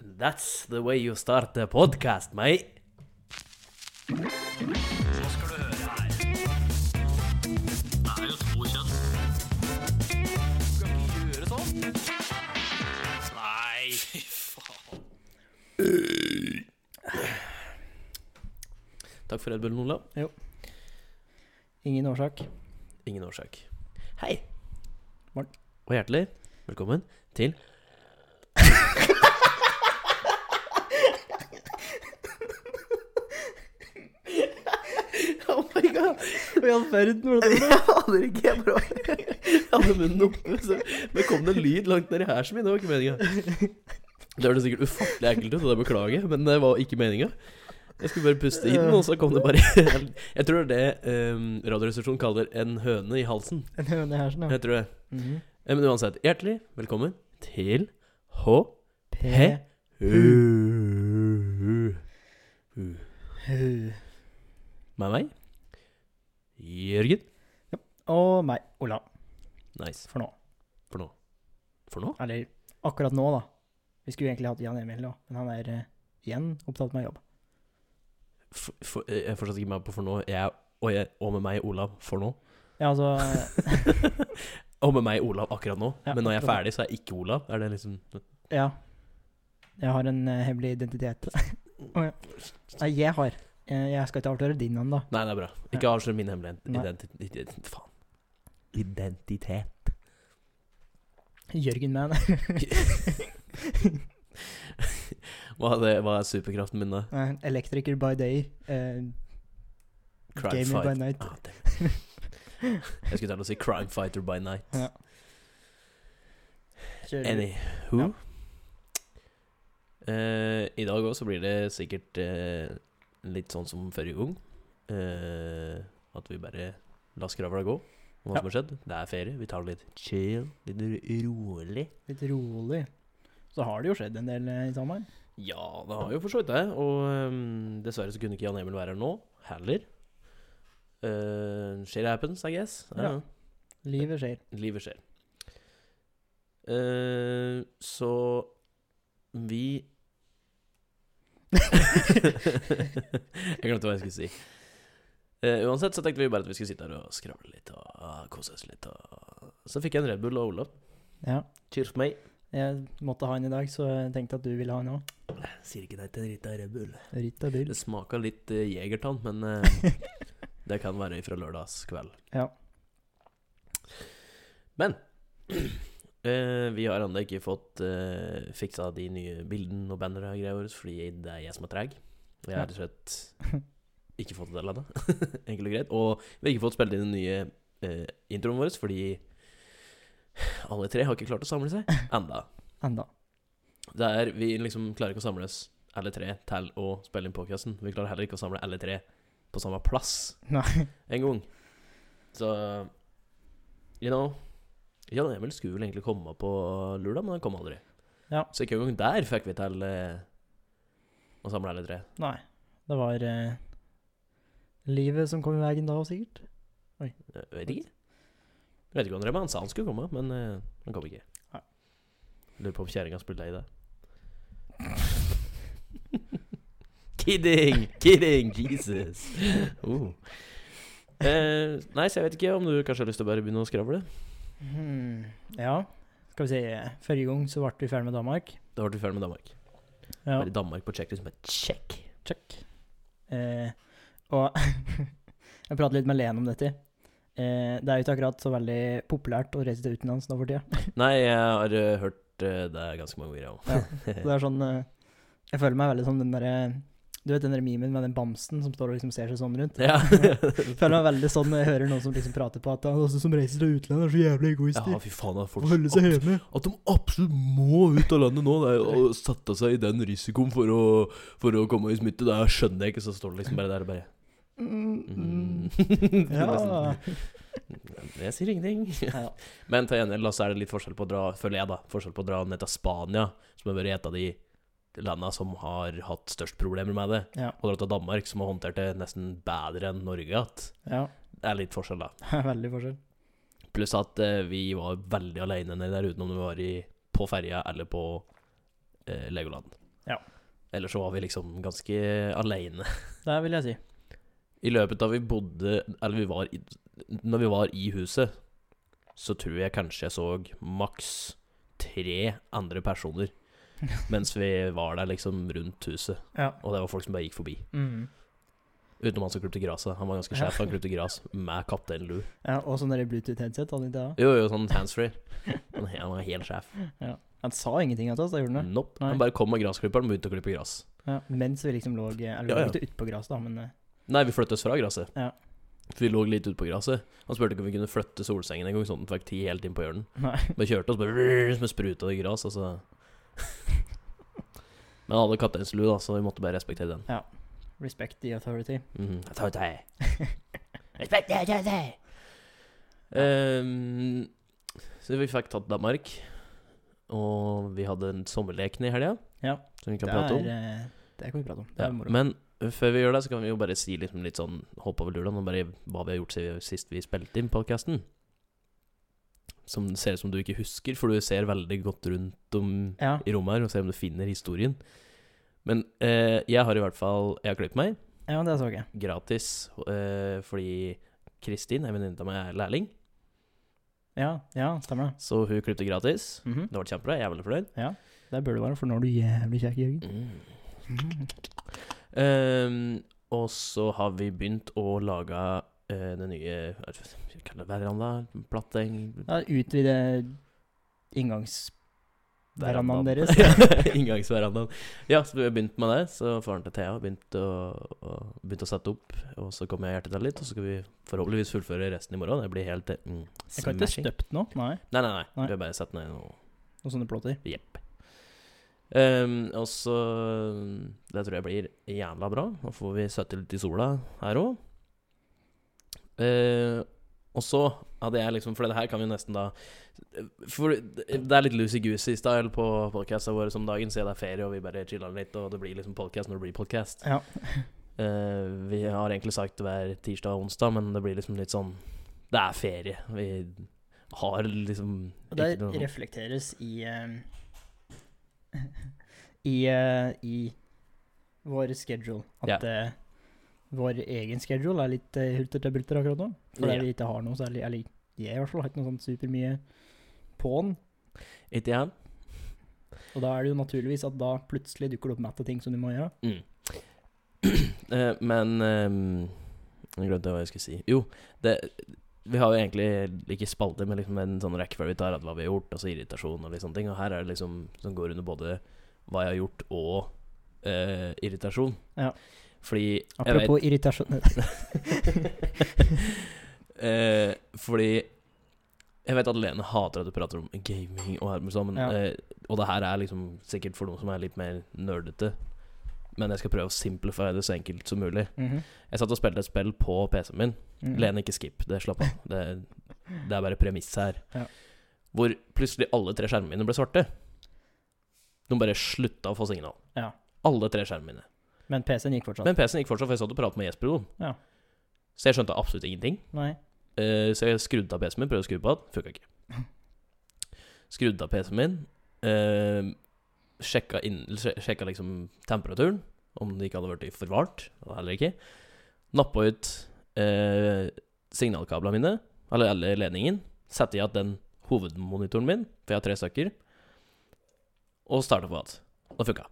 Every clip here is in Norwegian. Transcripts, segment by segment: That's the way you start a podcast, mate. Nei, fy faen. Takk for Red Bullen, Olav. Ingen årsak. Ingen årsak. Hei. Morten. Og hjertelig velkommen til Oh my god. Hva i all verden var det? Jeg aner ikke. Jeg bare jeg hadde munnen oppe. Så. Men kom det en lyd langt nedi her som min? Det var ikke meninga. Det hørtes sikkert ufattelig ekkelt ut, og det beklager jeg, men det var ikke meninga. Jeg skulle bare puste inn, og så kom det bare Jeg tror det er det um, Radioresepsjonen kaller en høne i halsen. En høne her, sånn, ja. Jeg tror det. Mhm. Eh, Men uansett, hjertelig velkommen til HU. P... He. Hu. Med meg, Jørgen. Og meg, Ola, Nice. for nå. For nå. For nå? Eller akkurat nå, da. Vi skulle egentlig hatt Jan Emil nå, men han er eh, igjen opptatt med jobb. For, for, eh, jeg fortsatt ikke med på for nå. Jeg, og, jeg, og med meg, Olav, for nå. Ja, altså eh, og med meg, Olav, akkurat nå. Ja, Men når jeg er akkurat ferdig, så er jeg ikke Olav. Er det liksom Ja. Jeg har en eh, hemmelig identitet. Å, ja. Nei, jeg har. Eh, Jeg skal ikke avsløre din navn, da. Nei, det er bra. Ikke avslør min hemmelighet. Nei. Identi- identi- Faen. Identitet. Jørgen Man. Hva er, det, hva er superkraften min, da? Eh, Elektriker by day. eh, Crime gamer by fight. night. Ah, damn. jeg skulle til å si Crime Fighter by Night. Ja. Kjører Anywho Ja. Eh, I dag òg så blir det sikkert eh, litt sånn som forrige gang. Eh, at vi bare lar skravla gå om hva Ja. som har skjedd. Det er ferie. Vi tar det litt chill, litt rolig. litt rolig. Så har det jo skjedd en del eh, i sommer. Ja, det har jo for så vidt det. Og ehm, dessverre så kunne ikke Jan Emil være her nå. Heller. Eh, shit happens, I guess. Ja. Livet skjer. Livet skjer. Eh, så vi Jeg glemte hva jeg skulle si. Eh, uansett så tenkte vi bare at vi skulle sitte her og skravle litt og ah, kose oss litt. Og... Så fikk jeg en Red Bull og Olav. Ja. Cheers for meg. Jeg måtte ha en i dag, så jeg tenkte at du ville ha en òg. Sier ikke nei til en liten Red Bull. Rita Bull. Det smaka litt eh, Jegertann, men eh, det kan være fra lørdagskveld. Ja. Men eh, vi har ennå ikke fått eh, fiksa de nye bildene og bannerne og greier våre, fordi det er jeg som er treg. Og jeg har rett og slett ikke fått det til ennå, enkelt og greit. Og vi har ikke fått spilt inn den nye eh, introen vår, fordi alle tre har ikke klart å samle seg enda. Enda. Det er, vi liksom klarer ikke å samles alle tre til å spille inn podcasten. Vi klarer heller ikke å samle alle tre på samme plass Nei. en gang. Så You know Jan Emil skulle vel egentlig komme på lørdag, men han kom aldri. Ja. Så ikke engang der fikk vi til eh, å samle alle tre. Nei. Det var eh, livet som kom i veien da, sikkert. Jeg vet ikke. Eh, Jeg vet ikke hva han drev med. Han sa han skulle komme, men eh, han kom ikke. Nei. Lurer på om kjerringa spilte i det. kidding! Kidding! Jesus! Oh. Eh, nei, så jeg vet ikke om du kanskje har lyst til å bare begynne å skravle? Hmm. Ja. Skal vi si Forrige gang så ble vi ferdig med Danmark. Da ble vi ferdig med Danmark. Ja. Bare Danmark på checklist, bare check. Check. Eh, og jeg pratet litt med Len om dette. Eh, det er jo ikke akkurat så veldig populært å reise til utenlands nå for tida. Nei, jeg har eh, hørt eh, det er ganske mange ganger, jeg òg. Ja. Så det er sånn eh, Jeg føler meg veldig som den derre Du vet den der memen med den bamsen som står og liksom ser seg sånn rundt? Ja. Jeg føler meg veldig sånn når jeg hører noen som liksom prater på at «Å, de som reiser til utlandet, er så jævlig ja, egoister. fy faen, det er Må holde folk seg hjemme. At de absolutt må ut av landet nå det er, og sette seg i den risikoen for å, for å komme i smitte, det skjønner jeg ikke. Så står det liksom bare der og bare Mm, mm. mm. Det er Ja. nesten- Jeg sier ingenting. Ja, ja. Men til gjengjeld da, så er det litt forskjell på å dra, føler jeg, da, forskjell på å dra ned til Spania, som har vært et av de landene som har hatt størst problemer med det, Ja. og dra til Danmark, som har håndtert det nesten bedre enn Norge at ja. Det er litt forskjell, da. Det er veldig forskjell. Pluss at eh, vi var veldig aleine nede der, utenom vi var i, på ferja eller på eh, Legoland. Ja. Ellers så var vi liksom ganske aleine. Det vil jeg si. I løpet av vi bodde Eller vi var i, Når vi var i huset, så tror jeg kanskje jeg så maks tre andre personer mens vi var der liksom rundt huset. Ja. Og det var folk som bare gikk forbi. Mm. Utenom han som klipte gresset. Han var ganske sjef, han klipte gress med kaptein Lou. ja og sånn derre Bluetooth-headset hadde han ikke det? Jo, jo, sånn handsfree. Han, han var helt sjef. Han sa ingenting til oss, da gjorde han det. Nope. Nei. Han bare kom med gressklipperen og begynte å klippe gress. Ja. Mens vi liksom lå Eller vi Ja, lå ja. ikke utpå gresset, da, men eh, Nei, vi flyttet oss fra gresset. Ja. For vi lå litt ute på gresset. Han spurte ikke om vi kunne flytte solsengen en gang, sånn at den fikk tid helt inn på hjørnet. Nei. Bare kjørte oss bare med spruta i gras, altså. Men han hadde kapteinslue, da, så vi måtte bare respektere den. Respect the authority. Mhm. Jeg tar ut deg. Respekt, jeg tar ut deg. Ehm, så vi fikk tatt Danmark, og vi hadde en sommerleken i helga. Ja. Som vi kan det, prate om. er, eh, det kan vi prate om. Det Ja, er moro. men før vi gjør det, så kan vi jo bare si liksom litt sånn hopp over lulaen og bare hva vi har gjort siden sist vi spilte inn podkasten. Som det ser ut som du ikke husker, for du ser veldig godt rundt om Ja. i rommet her og ser om du finner historien. Men eh, jeg har i hvert fall Jeg har klippet meg ja, det så jeg. gratis eh, fordi Kristin, ei venninne av meg, er lærling, Ja, ja, stemmer det. så hun klippet gratis. Mhm. Det var kjempebra. Jeg er veldig fornøyd. Der bør du være, for nå er du jævlig kjekk, Jørgen. Mhm. Ehm, og så har vi begynt å lage eh, den nye hva kaller det veranda? Platteng? Ja, utvide inngangsverandaen deres. Inngangsverandaen. Ja, så vi har begynt med det. Så faren til Thea har begynt å, å, begynt å sette opp. Og så kommer jeg hjertet til litt, og så skal vi forhåpentligvis fullføre resten i morgen. Det blir helt eh, mm, Jeg kan ikke smashing. støpt noe, nei. Nei, nei, nei. Nei. Vi har bare satt ned noe Noen sånne plotter. Jepp. Ehm, og så Det tror jeg blir jævla bra. Da får vi søtte litt i sola her òg. og så hadde jeg liksom For det her kan vi nesten da For det er litt loosey-goosey-style på podkasta våre som dagen, siden det er ferie og vi bare chiller litt, og det blir liksom podkast når det blir podkast. Ja. vi har egentlig sagt hver tirsdag og onsdag, men det blir liksom litt sånn Det er ferie. Vi har liksom Og det ikke noe- reflekteres i eh, i, eh, I vår schedule. At eh, vår egen schedule er litt uh, hulter til bulter akkurat nå. Fordi Ja. vi ikke har noe særlig Eller jeg i hvert fall har ikke noe sånn supermye på'n. Ikke jeg. Og da er det jo naturligvis at da plutselig dukker det opp matte ting som du må gjøre. Mm. Eh, men ehm, Jeg glemte hva jeg skulle si. Jo, det vi har jo egentlig ikke spalter, men liksom en sånn rekkefølge vi tar, at hva vi har gjort, altså irritasjon og litt sånne ting. Og her er det liksom som går under både hva jeg har gjort og eh, irritasjon. Ja. Fordi jeg vet- Apropos irritasjon eh, fordi jeg vet at Lene hater at du prater om gaming og hermer sånn, men, Ja. eh, og det her er liksom sikkert for noen som er litt mer nerdete. Men jeg skal prøve å simplify det så enkelt som mulig. Mhm. Jeg satt og spilte et spill på PC-en min. Mhm. Lene, ikke skip. Det slapp av. Det, det er bare premiss her. Ja. Hvor plutselig alle tre skjermene mine ble svarte. De bare slutta å få signal. Ja. Alle tre skjermene mine. Men PC-en gikk fortsatt. Men PC-en gikk fortsatt, for jeg satt og pratet med Jesper. jo. Ja. Så jeg skjønte absolutt ingenting. Nei. Eh, så jeg skrudde av PC-en min, prøvde å skru på den, funka ikke. Skrudde av PC-en min, eh, sjekka, inn, eller sje- sjekka liksom temperaturen, om det ikke hadde blitt for varmt, det hadde heller ikke. Nappa ut eh, signalkablene mine, eller, eller ledningen, satte i igjen den hovedmonitoren min, for jeg har tre stykker, og starta på igjen. Det funka.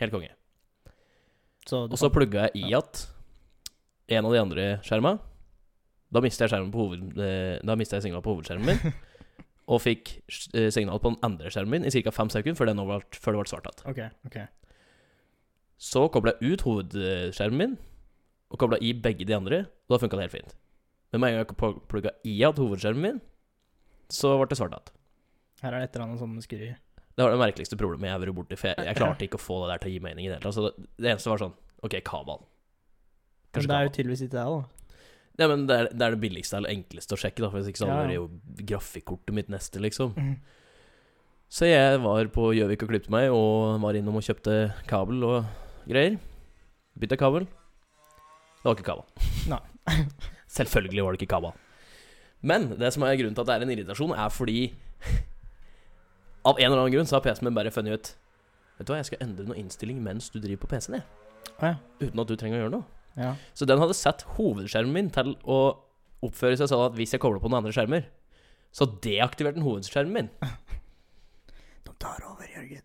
Helt konge. Så Og så plugga jeg i at en av de andre skjerma. Da mista jeg, skjermen på hoved, eh, da mistet jeg signalet på hovedskjermen min. Og fikk eh, signal på den andre skjermen min i ca. fem sekunder før, den nå ble- før det ble svart igjen. OK. ok. Så kobla jeg ut hovedskjermen min, og kobla i begge de andre, og da funka det helt fint. Men med en gang jeg plugga i igjen hovedskjermen min, så ble det svart igjen. Her er det et eller annet sånn skurri. Det var det merkeligste problemet jeg har vært borti, for jeg, jeg klarte ikke å få det der til å gi mening i det hele tatt. Så det, det eneste var sånn OK, kabal. Men det er jo tydeligvis ikke det, da. Ja, men det er, det er det billigste eller enkleste å sjekke, da, for hvis ikke så Ja, hadde ja. det jo grafikkortet mitt neste, liksom. Mhm. Så jeg var på Gjøvik og klippte meg, og var innom og kjøpte kabel og greier. Bytta kabel. Det var ikke kabel. Nei. Selvfølgelig var det ikke kabel. Men det som er grunnen til at det er en irritasjon, er fordi Av en eller annen grunn så har PC-en min bare funnet ut Vet du hva, jeg skal endre noen innstilling mens du driver på PC-en, jeg. Å ja. Uten at du trenger å gjøre noe. ja. Så den hadde sett hovedskjermen min til å oppføre seg sånn at hvis jeg kobler på noen andre skjermer, så deaktiverte den hovedskjermen min. De tar over, Jørgen.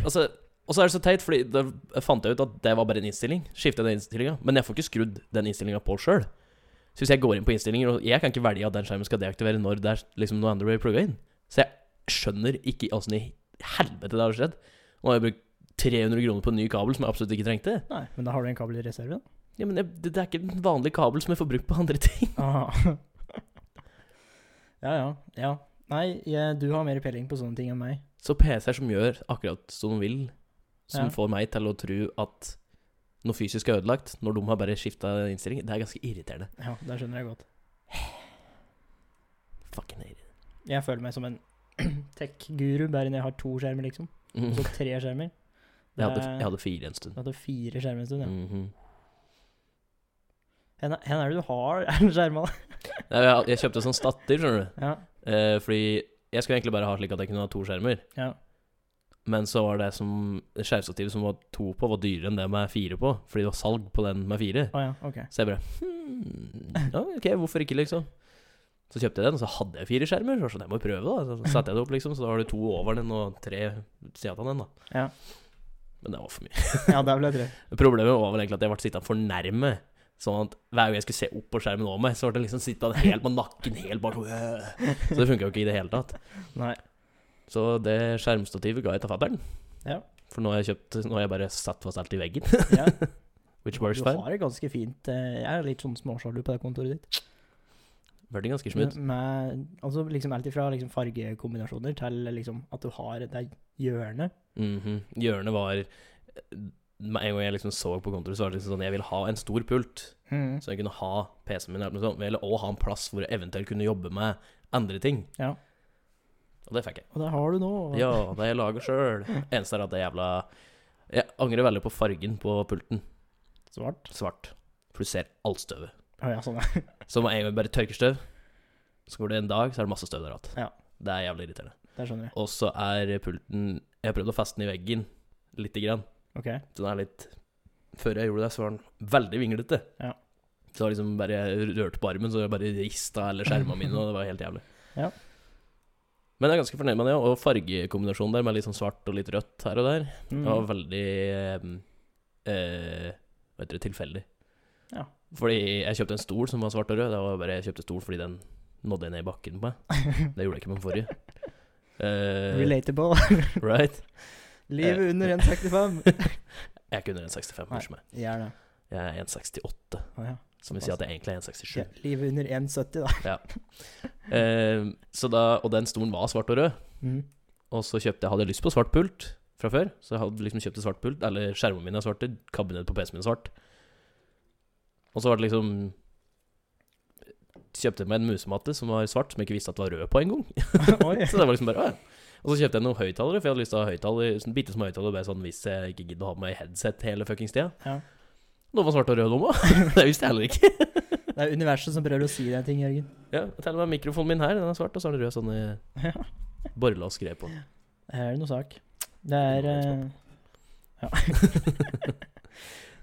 Altså, og så er det så teit, fordi da fant jeg ut at det var bare en innstilling. Skiftet den innstillinga. Men jeg får ikke skrudd den innstillinga på sjøl. Så hvis jeg går inn på innstillinger, og jeg kan ikke velge at den skjermen skal deaktivere når det er liksom noe andre blir plugga inn. Så jeg skjønner ikke åssen i helvete det har skjedd. Nå har jeg brukt 300 kroner på en ny kabel som jeg absolutt ikke trengte. Nei, men da har du en kabel i reserve, da. Ja, men jeg, det, det er ikke en vanlig kabel som jeg får brukt på andre ting. Aha. ja, ja. Ja. Nei, jeg, du har mer peiling på sånne ting enn meg. Så PC-er som gjør akkurat som de vil, som Ja. får meg til å tro at noe fysisk er ødelagt, når de har bare skifta innstilling, det er ganske irriterende. Ja, det skjønner jeg godt. Fucking irriterende. Jeg føler meg som en tech-guru bare når jeg har to skjermer, liksom. Mm. Så tre skjermer. Jeg hadde, er- jeg hadde fire en stund. jeg hadde Mm. fire skjermer en stund, ja. Mhm. Hvor er det du har skjerma, da? Nei, jeg, jeg kjøpte sånn statter, skjønner du. Ja. Eh, fordi jeg skulle egentlig bare ha slik at jeg kunne ha to skjermer. Ja. Men så var det som skjermstativet som var to på, var dyrere enn det med fire på. Fordi det var salg på den med fire. Å ja, ok. Så jeg bare hmm, ja, OK, hvorfor ikke, liksom? Så kjøpte jeg den, og så hadde jeg fire skjermer. Så var jeg sånn, jeg må jo prøve, da. Så satte jeg det opp, liksom. Så da har du to over den og tre ved siden av den, da. Ja. Men det var for mye. Ja, der ble jeg trøtt. Problemet var vel egentlig at jeg ble sittende for nærme. Sånn at hver gang jeg skulle se opp på skjermen over meg, så ble jeg liksom sittende helt med nakken helt bak. Så det funka jo ikke i det hele tatt. Nei. Så det skjermstativet ga jeg til fatter'n. Ja. For nå har jeg kjøpt Nå har jeg bare satt fast alt i veggen. Ja. Which Du works fine. har det ganske fint. eh, Jeg er litt sånn småsjalu på det kontoret ditt. Ble det ganske smutt. Med, altså liksom alt ifra liksom fargekombinasjoner til liksom at du har det hjørnet. Mhm. Hjørnet var Med en gang jeg liksom så på kontoret, så var det liksom sånn Jeg vil ha en stor pult, Mm. så jeg kunne ha PC-en min, eller noe sånt, eller også ha en plass hvor jeg eventuelt kunne jobbe med andre ting. Ja. Og det fikk jeg. Og det har du nå. Ja, det jeg lager sjøl. Eneste er at det jævla Jeg angrer veldig på fargen på pulten. Svart. Svart. For du ser alt støvet. Å ja, sånn ja. Så med en gang vi bare tørker støv, så går det en dag, så er det masse støv der igjen. Ja. Det er jævlig irriterende. Det skjønner jeg. Og så er pulten Jeg har prøvd å feste den i veggen lite grann. Ok. Så den er litt Før jeg gjorde det, så var den veldig vinglete. Ja. Så jeg liksom bare jeg rørte på armen, så jeg bare rista alle skjermene mine, og det var helt jævlig. Ja. Men jeg er ganske fornøyd med det, og fargekombinasjonen der med litt sånn svart og litt rødt her og der, Mm. det var veldig eh, eh, Hva heter det tilfeldig. Ja. Fordi jeg kjøpte en stol som var svart og rød. Det var bare Jeg kjøpte stol fordi den nådde jeg ned i bakken på meg. Det gjorde jeg ikke med den forrige. Eh, Relatable. right? Eh. Livet under 1,65. Jeg er ikke under 1,65. Nei. Unnskyld meg. Jeg er det. Jeg er 1,68, Å ja. som vil si at jeg egentlig er 1,67. Ja, Livet under 1,70, da. Eh, så da, og den stolen var svart og rød. Mm. Og så kjøpte jeg hadde jeg lyst på svart pult fra før. Så jeg hadde liksom kjøpt en svart pult, eller skjermene mine er svarte, kabinettet på PC-en min er svart. Og så var det liksom Kjøpte jeg meg en musematte som var svart, som jeg ikke visste at var rød på engang. Oi. Så det var liksom bare «Å, ja. Og så kjøpte jeg noen høyttalere, for jeg hadde lyst til å ha høyttaler, sånn bitte små høyttalere, bare sånn hvis jeg ikke gidder å ha på meg headset hele fuckings tida. Ja. Noen var svart og rød, de òg. Det visste jeg heller ikke. Det er universet som prøver å si deg ting, Jørgen. Ja, Til og med mikrofonen min her, den er svart, og så er det rød sånn Ja. borrelås skrev på. Her er det noe sak. Det er eh,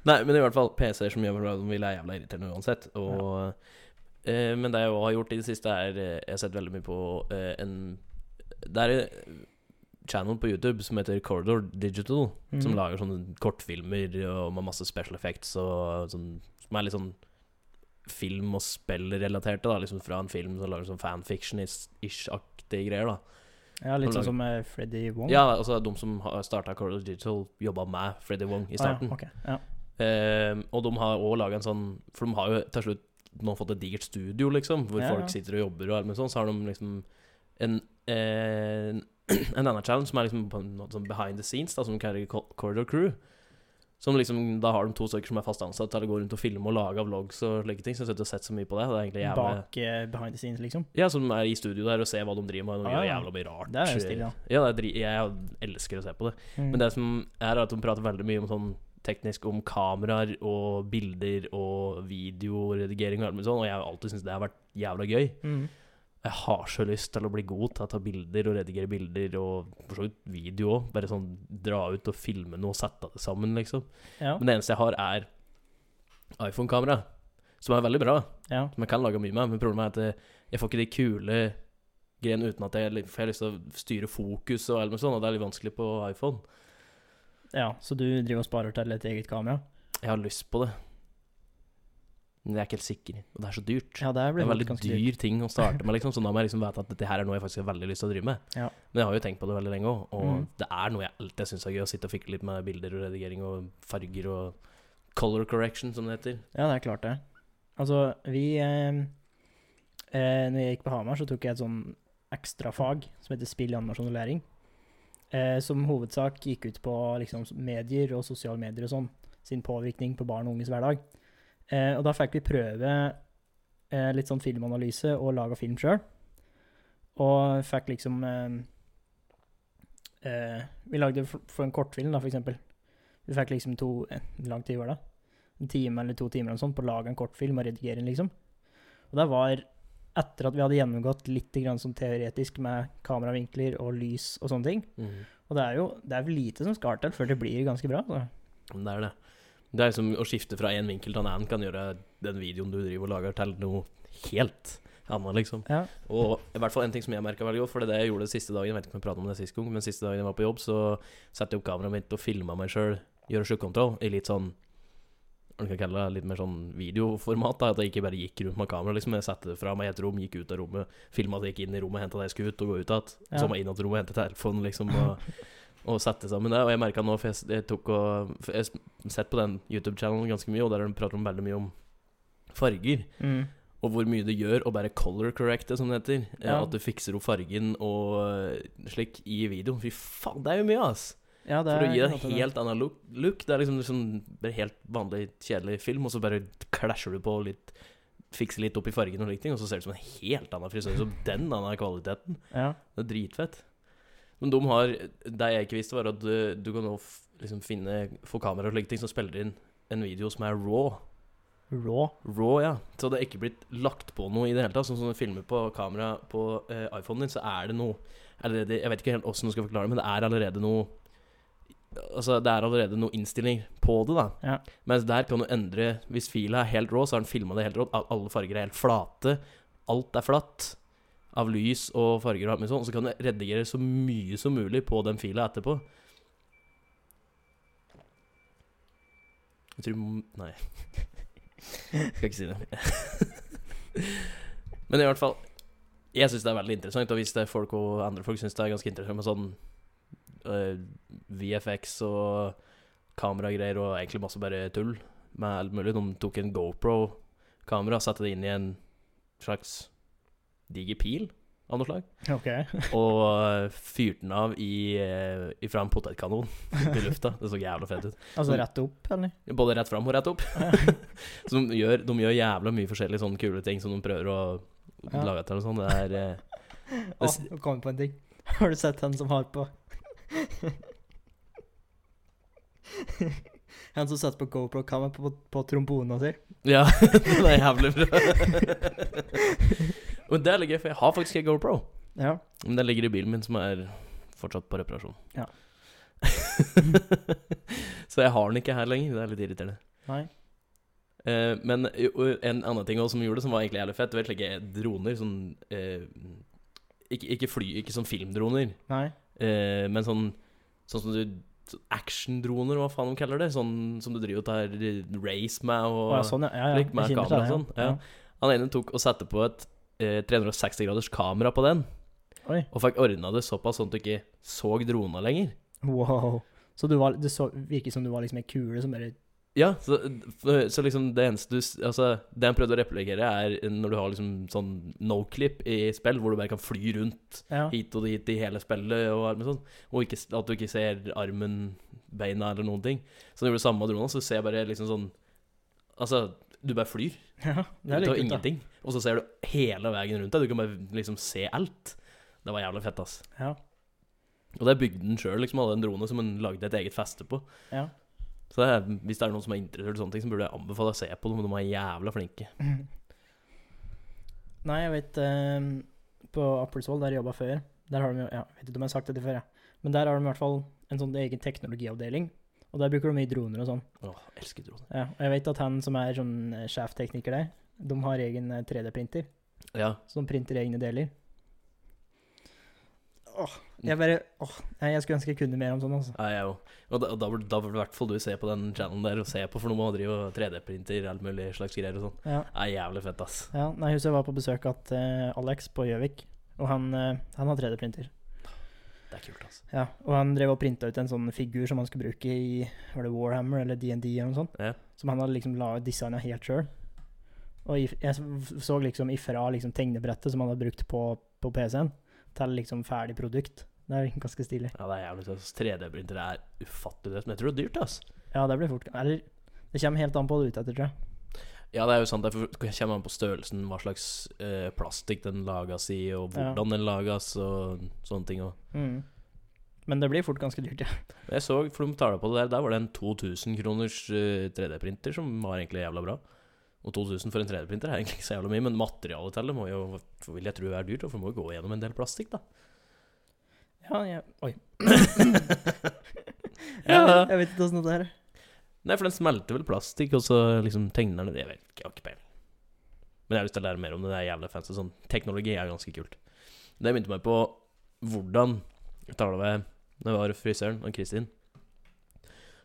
Nei, men i hvert fall PC-er som gjør meg vil er jævla irriterende uansett. Og, eh, men det jeg også har gjort i det siste, er eh, Jeg har sett veldig mye på eh, en Det er en channel på YouTube som heter Corridor Digital, mm. som lager sånne kortfilmer og med masse special effects og sånn Som er litt sånn film- og spillrelaterte, da. Liksom fra en film som lager sånn fanfiction-ish-aktige greier, da. Ja, litt som sånn som eh, Freddy Wong. Ja, altså de som starta Corridor Digital, jobba med Freddy Wong i starten. Ah, ja. ok. ja. Eh, og de har òg laga en sånn For de har jo til slutt nå fått et digert studio, liksom, hvor Ja, ja. folk sitter og jobber og alt mulig sånn. Så har de liksom en, eh, en annen challenge som er liksom på en måte sånn behind the scenes, da, som de kaller Co- Corridor Crew. Som liksom, Da har de to stykker som er fast ansatt til å gå rundt og filme og lage vlogs og slike ting. Så jeg har sittet og sett så mye på det. Det er egentlig jævlig Bak eh, behind the scenes, liksom. Ja, Som er i studio der og ser hva de driver med. og De Ah, gjør ja. jævla mye rart. Det er jo stilig, da. Ja, det er dri jeg elsker å se på det. Mm. Men det som er at hun prater veldig mye om sånn teknisk om kameraer og bilder og videoredigering og alt mulig sånn, og jeg har alltid syntes det har vært jævla gøy. mm. Jeg Jeg har så lyst til å bli god til å ta bilder og redigere bilder og for så vidt video òg. Bare sånn dra ut og filme noe og sette det sammen, liksom. Ja. Men det eneste jeg har, er iPhone-kamera, som er veldig bra. ja. Som jeg kan lage mye med, men problemet er at jeg- jeg får ikke de kule greiene uten at jeg li- for jeg har lyst til å styre fokus og alt mulig sånn, og det er litt vanskelig på iPhone. ja. Så du driver og sparer til et eget kamera? Jeg har lyst på det, men jeg er ikke helt sikker, og det er så dyrt. Ja, det Det er blir en faktisk veldig ganske dyrt. dyr ting å starte med, liksom, så da må jeg liksom vite at dette her er noe jeg faktisk har veldig lyst til å drive med. Ja. Men jeg har jo tenkt på det veldig lenge òg, og Mhm. det er noe jeg alltid syns er gøy, å sitte og fikle litt med bilder og redigering og farger og color correction, som det heter. Ja, det er klart det. Altså, vi eh, eh, Når jeg gikk på Hamar, så tok jeg et sånn ekstrafag som heter spill, animasjon og læring. Eh, som hovedsak gikk ut på liksom, medier og sosiale medier og sånn. Sin påvirkning på barn og unges hverdag. Eh, og da fikk vi prøve eh, litt sånn filmanalyse og laga film sjøl. Og fikk liksom eh, eh, Vi lagde for, for en kortfilm, da, for eksempel. Vi fikk liksom to eh, Hvor lang tid var det? en time eller to timer eller sånn på å lage en kortfilm og redigere den, liksom. Og det var etter at vi hadde gjennomgått litt grann sånn teoretisk med kameravinkler og lys og sånne ting. Og det er jo det er lite som skal til før det blir ganske bra. altså. Så. Men Det er det. Det er liksom å skifte fra én vinkel til en annen kan gjøre den videoen du driver og lager, til noe helt annet, liksom. Ja. Og i hvert fall en ting som jeg merka veldig godt, for det er det jeg gjorde siste dagen, jeg vet ikke om jeg pratet om det sist gang, men siste dagen jeg var på jobb, så satte jeg opp kameraet mitt og filma meg sjøl gjøre sjukkontroll i litt sånn hva du kan kalle det, litt mer sånn videoformat. da, At jeg ikke bare gikk rundt med kamera. liksom, Jeg satte det fra meg i et rom, gikk ut av rommet, filma at jeg gikk inn i rommet, henta det jeg skulle ut, og gå ut igjen. Ja. Så må jeg inn i rommet og hente telefonen, liksom. Og, og sette sammen det. Og jeg merka nå, for jeg, s- jeg tok og for Jeg har sett på den YouTube-channelen ganske mye, og der har de prater de veldig mye om farger Mm. og hvor mye det gjør å bare color correcte, som det heter. Eh, Ja. At du fikser opp fargen og eh, slik i videoen. Fy faen, det er jo mye, ass! Ja, det For å gi er det en helt annen look. look. Det er liksom, liksom bare helt vanlig, kjedelig film, og så bare klasjer du på litt Fikser litt opp i fargen og slike ting, og så ser det ut som en helt annen frisør. Som den annen kvaliteten. Ja. Det er dritfett. Men de har Det jeg ikke visste, var at du, du kan nå f liksom finne få kamera og slike ting som spiller inn en video som er raw. Raw. Raw, ja. Så det er ikke blitt lagt på noe i det hele tatt. Sånn som du filmer på kamera på eh, iPhonen din, så er det noe allerede, Jeg vet ikke helt åssen du skal forklare det, men det er allerede noe Altså, det er allerede noe innstilling på det, da. Ja. Mens der kan du endre Hvis fila er helt rå, så har den filma det helt rått. Al- Alle farger er helt flate. Alt er flatt av lys og farger og alt mulig sånn. Så kan du redigere så mye som mulig på den fila etterpå. Jeg tror Nei. Skal ikke si det. Men i hvert fall Jeg syns det er veldig interessant, og hvis det er folk og andre folk syns det er ganske interessant med sånn øh, VFX og kameragreier og egentlig masse bare tull med alt mulig De tok en GoPro-kamera, satte det inn i en slags diger pil av noe slag, OK. og øh, fyrte den av i, øh, ifra en potetkanon i lufta. Det så jævla fett ut. altså rett opp, eller? Både rett fram og rett opp. så de gjør, de gjør jævla mye forskjellige sånne kule ting som de prøver å Ja. lage etter og sånn. Det er eh, Å, nå kom jeg på en ting. Har du sett han som har på Han som satt på GoPro-kamera på, på trombona si. Ja, det er jævlig bra. Men det er litt gøy, for jeg har faktisk en GoPro. Ja. Men den ligger i bilen min, som er fortsatt på reparasjon. Ja. så jeg har den ikke her lenger. Det er litt irriterende. Nei. Eh, men jo, en annen ting også som gjorde det, som var egentlig jævlig fett, det var slike droner sånn eh, ikke, ikke fly, ikke sånn filmdroner. Nei. Eh, men sånn Sånn som du sånn Actiondroner, hva faen de kaller det? Sånn som du driver og tar eh, race med og Å, ja, sånn, ja. ja, ja. Slik med Jeg kamera kjenner til og sånn, ja. Han ene tok og satte på et eh, 360 graders kamera på den, Oi. og fikk ordna det såpass sånn at du ikke så drona lenger. Wow. Så du var, det så, virket som du var liksom en kule som bare Ja, så, så liksom det eneste du s- Altså, det han prøvde å replikere, er når du har liksom sånn no clip i spill, hvor du bare kan fly rundt Ja. hit og dit i hele spillet, og, alt med sånn, og ikke, s- at du ikke ser armen, beina eller noen ting. Så når du gjorde det samme med drona, så ser jeg bare liksom sånn Altså, du bare flyr. ja det Det du er tar litt kult, da. ingenting, og så ser du hele veien rundt deg. Du kan bare liksom se alt. Det var jævlig fett, ass. Ja. Og det er bygd den sjøl, liksom. Hadde en drone som en lagde et eget feste på. ja. Så det er, hvis det er noen som er interessert i sånne ting, så burde jeg anbefale å se på dem. De er jævla flinke. Nei, jeg vet eh, på Appelsvoll, der jeg jobba før, der har de jo, ja, jeg vet ikke om jeg har sagt dette før, jeg. men der har de i hvert fall en sånn egen teknologiavdeling, og der bruker de mye droner og sånn. Åh, elsker droner. Ja, og jeg vet at han som er sånn eh, sjeftekniker der, de har egen eh, 3D-printer, Ja. så de printer egne deler. Åh, Mm. jeg bare, åh, nei, jeg skulle ønske jeg kunne mer om sånn, altså. Ja, jeg òg. Og da, og da burde da burde i hvert fall du se på den channelen der og se på, for nå må man drive og 3D-printer alt mulig slags greier og sånn. Ja. Det er jævlig fett, ass. Ja, nei, jeg husker jeg var på besøk at eh, Alex på Gjøvik, og han, eh, han har 3D-printer. Det er kult, ass. Ja, og han drev og printa ut en sånn figur som han skulle bruke i var det Warhammer eller DND eller noe sånt, Ja. som han hadde liksom designa helt sjøl. Og if- jeg s- så liksom ifra liksom tegnebrettet som han hadde brukt på, på PC-en, til liksom ferdig produkt. Det er ganske stilig. Ja, det er jævlig fett. ass. 3D-printer er ufattelig fett, men jeg tror det er dyrt, ass. Ja, det blir fort Eller det kommer helt an på det du er ute etter, tror jeg. Ja, det er jo sant. Det kommer an på størrelsen, hva slags eh, plastikk den lages i, og Ja. hvordan den lages, og sånne ting. Og. Mm. Men det blir fort ganske dyrt, ja. Jeg så, for de tar deg på det der, der var det en 2000 kroners eh, 3D-printer som var egentlig jævla bra. Og 2000 for en 3D-printer er egentlig ikke så jævla mye, men materialet til det må jo, vil jeg tro er dyrt, og for det må jo gå gjennom en del plastikk, da. Ja, jeg, oi. Ja. Jeg vet ikke åssen det er. Nei, for den smelter vel plastikk, og så liksom tegner den Jeg vet ikke, jeg har ikke peiling. Men jeg har lyst til å lære mer om det. Det er jævlig fancy. Sånn teknologi er ganske kult. Det minte meg på hvordan Jeg tar det ved Når jeg var i frisøren og Kristin.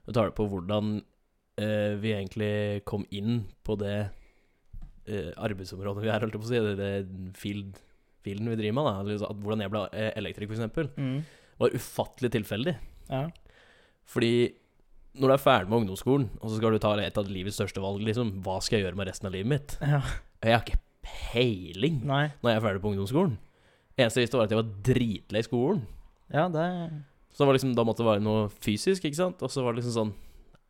Jeg tar det på hvordan eh, vi egentlig kom inn på det eh, arbeidsområdet vi er, holdt jeg på å si. Det, det field, fielden vi driver med. Da. Eller så At hvordan jeg ble eh, elektriker, f.eks. Mm. var ufattelig tilfeldig. Ja. Fordi når du er ferdig med ungdomsskolen, og så skal du ta et av livets største valg, liksom, hva skal jeg gjøre med resten av livet mitt? ja. Jeg har ikke peiling Nei. når jeg er ferdig på ungdomsskolen. Eneste jeg visste, var at jeg var dritlei i skolen. Ja, det Så det var liksom, da måtte det være noe fysisk, ikke sant? Og så var det liksom sånn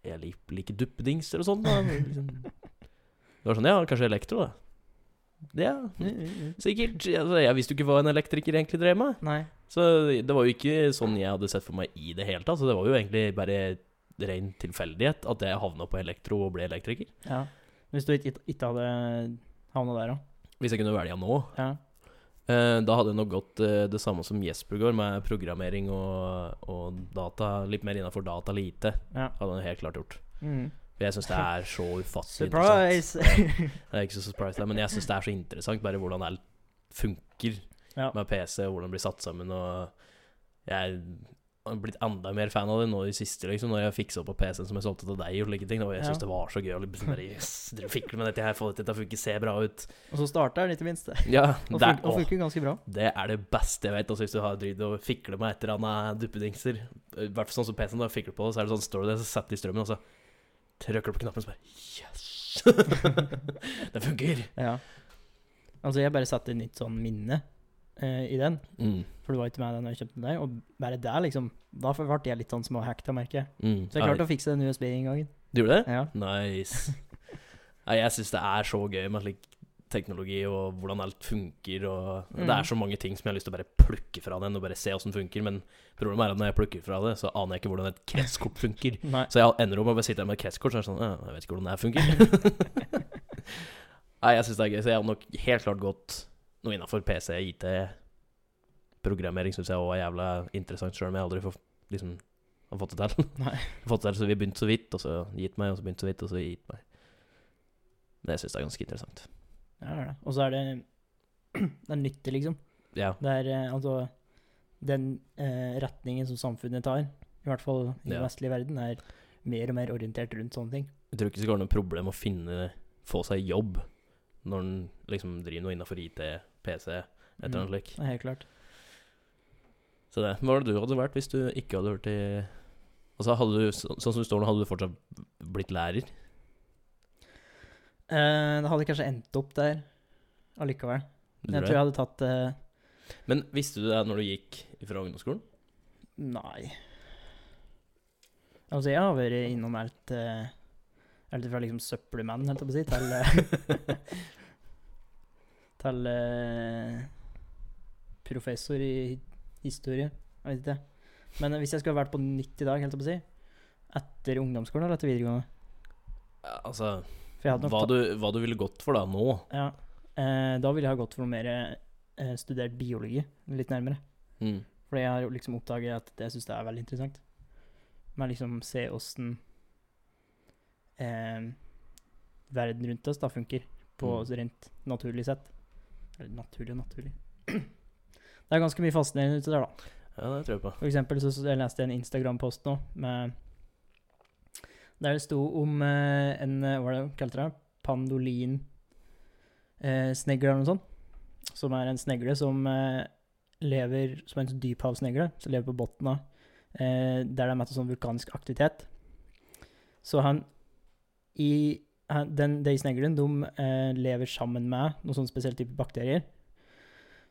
Jeg lik- liker duppedingser og sånn. da. Liksom. Det var sånn Ja, kanskje elektro, da. Ja, sikkert. Altså, jeg visste jo ikke hva en elektriker egentlig drev med. Nei. Så det var jo ikke sånn jeg hadde sett for meg i det hele tatt. Så det var jo egentlig bare ren tilfeldighet at jeg havna på elektro og ble elektriker. Ja. Hvis du ikke, ikke hadde havna der òg. Hvis jeg kunne velge nå. Ja. Eh, da hadde jeg nok gått eh, det samme som Jesper går, med programmering og, og data. Litt mer innafor data lite. Ja. Hadde han helt klart gjort. Mm. For jeg syns det er så ufattelig Surprise! interessant. Ja, det er ikke så surprise, da, men jeg syns det er så interessant bare hvordan alt funker Ja. med PC, og hvordan det blir satt sammen, og jeg har blitt enda mer fan av det nå i det siste, liksom, når jeg fiksa opp på PC-en som jeg solgte til deg og slike ting. Og jeg syns Ja. det var så gøy å liksom bare yes, dere fikler med dette her, få dette til å funke, se bra ut. Og så starter den, ikke minst. Og Ja, det, funker, og åh, funker ganske bra. det er det beste jeg vet, altså hvis du har dritt og fikler med et eller annet duppedingser. I hvert fall sånn som PC-en, da jeg fikler på det, så er det sånn, står du der, så setter du i strømmen, og så trykker du på knappen, og så bare yes! det funker! Ja. Altså, jeg bare satte et nytt sånn minne eh, i den, Mm. for du var ikke med den da jeg kjøpte den der. Og bare der, liksom, da ble jeg litt sånn småhacka, merker jeg. Mm. Så jeg klarte å fikse den USB-inngangen. Du gjorde det? Ja. Nice. Nei, jeg syns det er så gøy med slik teknologi og hvordan alt funker. Og Mm. Det er så mange ting som jeg har lyst til å bare plukke fra den og bare se åssen funker, men problemet er at når jeg plukker fra det, så aner jeg ikke hvordan et kretskort funker. Nei. Så jeg ender opp med å bare sitte her med et kretskort, så er det sånn «Ja, Jeg vet ikke hvordan det her funker. Nei, jeg syns det er gøy, så jeg hadde nok helt klart gått noe innafor PC, IT, programmering syns jeg òg er jævla interessant, sjøl om jeg aldri får liksom har fått det til. Nei. Jeg har fått det til, så vi begynte så vidt, og så gitt meg, og så begynte så vidt, og så gitt meg. Men jeg syns det er ganske interessant. Ja, det er det. Og så er det Det er nyttig, liksom. Ja. Det er eh, altså Den eh, retningen som samfunnet tar, i hvert fall i den Ja. vestlige verden, er mer og mer orientert rundt sånne ting. Jeg tror ikke det skal være noe problem å finne få seg jobb når en liksom driver noe innafor IT, PC, et eller annet slikt. Det er Mm. helt klart. Så det. Hva hadde du hadde vært hvis du ikke hadde vært i Altså, hadde du, så, sånn som du står nå, hadde du fortsatt blitt lærer? Eh, det hadde kanskje endt opp der allikevel. Tror Jeg jeg. tror jeg hadde tatt eh, Men visste du det når du gikk fra ungdomsskolen? Nei. Altså, jeg har vært innom alt eh, Alt fra liksom søppelmenn, helt på å si, til eh, Til eh, professor i historie. Jeg vet ikke. Men hvis jeg skulle vært på nytt i dag, helt på å si, etter ungdomsskolen eller etter videregående Ja, Altså, For jeg hadde nok hva du, hva du ville gått for da, nå? ta- ja, eh, Da ville jeg ha gått for noe mer eh, eh, studert biologi litt nærmere. Mm. For jeg har jo liksom oppdaget at det syns jeg er veldig interessant. Men liksom se åssen eh, verden rundt oss da funker, på Mm. rent naturlig sett. Eller naturlig og naturlig. Det er ganske mye fascinerende ute der, da. Ja, det tror jeg på. For eksempel så, så jeg leste en Instagram-post nå med Der det sto om eh, en eh, Hva var det de kalte det? Pandolin eh, snegle eller noe sånt. Som er en snegle som eh, lever som en dyphavsnegle. Som lever på bunnen av eh, Der det er mest sånn vulkansk aktivitet. Så han i han- den, De sneglene de, eh, lever sammen med noen sånn spesiell type bakterier.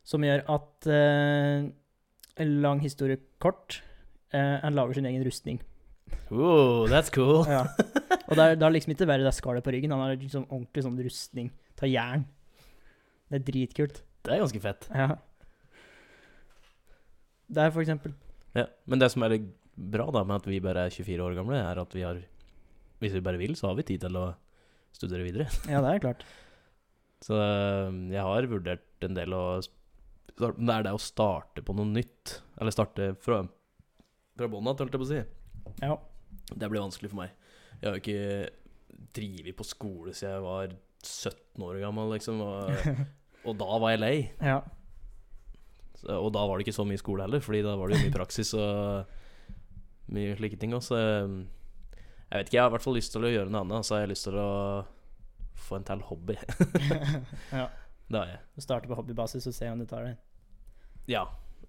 Som gjør at eh, en lang historie kort. Eh, han lager sin egen rustning. Wow, that's cool. Ja. Og det er, det er liksom ikke bare det skallet på ryggen, han har liksom ordentlig sånn rustning av jern. Det er dritkult. Det er ganske fett. Ja. Det er for eksempel Ja. Men det som er bra da med at vi bare er 24 år gamle, er at vi har Hvis vi bare vil, så har vi tid til å studere videre. Ja, det er klart. Så øh, jeg har vurdert en del å start- Men er det å starte på noe nytt? Eller starte fra, fra bånn av, holdt jeg på å si. Ja. Det blir vanskelig for meg. Jeg har jo ikke drevet på skole siden jeg var 17 år gammel, liksom. Og, og da var jeg lei. ja. Så- Og da var det ikke så mye skole heller, Fordi da var det jo mye praksis og mye slike ting. Også. Jeg vet ikke, jeg har i hvert fall lyst til å gjøre noe annet. Så har jeg lyst til å få en til hobby. Ja. Det har jeg. Du starter på hobbybasis og ser om du tar det. Ja,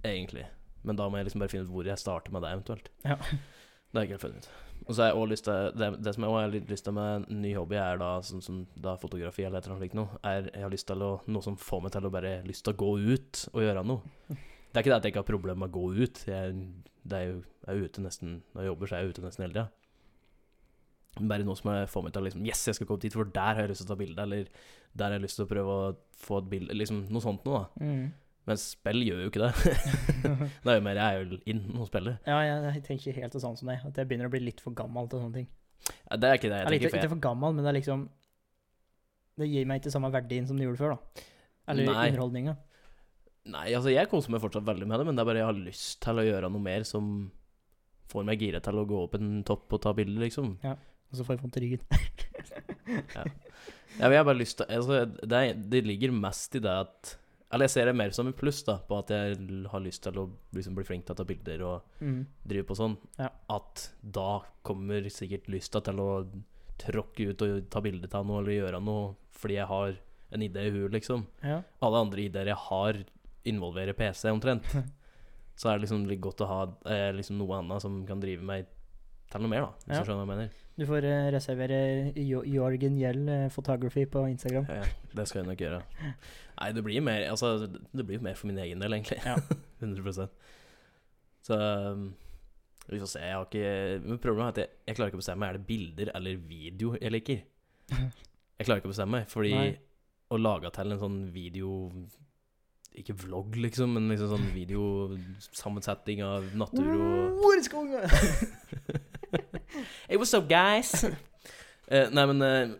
egentlig. Men da må jeg liksom bare finne ut hvor jeg starter med det, eventuelt. Ja. Det har jeg ikke helt funnet ut. Og så har jeg også lyst til Det, det som jeg også har litt lyst til med en ny hobby, er da sånn som da fotografi eller et eller annet slikt noe, er jeg har lyst til å Noe som får meg til å bare lyst til å gå ut og gjøre noe. Det er ikke det at jeg ikke har problemer med å gå ut. Jeg, det er jo, jeg er ute nesten Når jeg jobber, så er jeg ute nesten hele tida. Men Bare noe som jeg får meg til å liksom Yes, jeg skal komme dit, for der har jeg lyst til å ta bilde, eller der har jeg lyst til å prøve å få et bilde Liksom noe sånt noe, da. Mm. Men spill gjør jo ikke det. det er jo mer jeg er jo inn og spiller. Ja, jeg, jeg tenker ikke helt det samme som deg, at jeg begynner å bli litt for gammel til sånne ting. Ja, Det er ikke det jeg tenker. Eller ikke, For ikke jeg, for gammel, men det er liksom Det gir meg ikke samme verdien som det gjorde før, da. Eller Nei. underholdninga. nei, altså jeg koser meg fortsatt veldig med det, men det er bare jeg har lyst til å gjøre noe mer som får meg gira til å gå opp en topp og ta bilder, liksom. Og så får jeg vondt i ryggen. Ja, men jeg har bare lyst til altså, det, er- det ligger mest i det at Eller jeg ser det mer som en pluss, da, på at jeg l- har lyst til å liksom, bli flink til å ta bilder og Mm. drive på sånn. Ja. At da kommer sikkert lysta til å tråkke ut og ta bilde av noe eller gjøre noe fordi jeg har en idé i huet, liksom. Ja. alle andre ideer jeg har, involverer PC omtrent. Så er det liksom litt godt å ha eh, liksom noe annet som kan drive meg til noe mer, da. Hvis Ja. du skjønner hva jeg mener. Du får eh, reservere jo Jorgen Gjell eh, Photography på Instagram. Ja, ja, det skal jeg nok gjøre. Nei, det blir mer altså, det blir mer for min egen del, egentlig. Ja. 100 Så um, vi får se. Jeg har ikke men Problemet er at jeg, jeg klarer ikke å bestemme Er det bilder eller video jeg liker. Jeg klarer ikke å bestemme, fordi Nei. å lage til en sånn video Ikke vlogg, liksom, men liksom sånn videosammensetting av natur og Hey, what's up, guys? Eh, nei, men eh,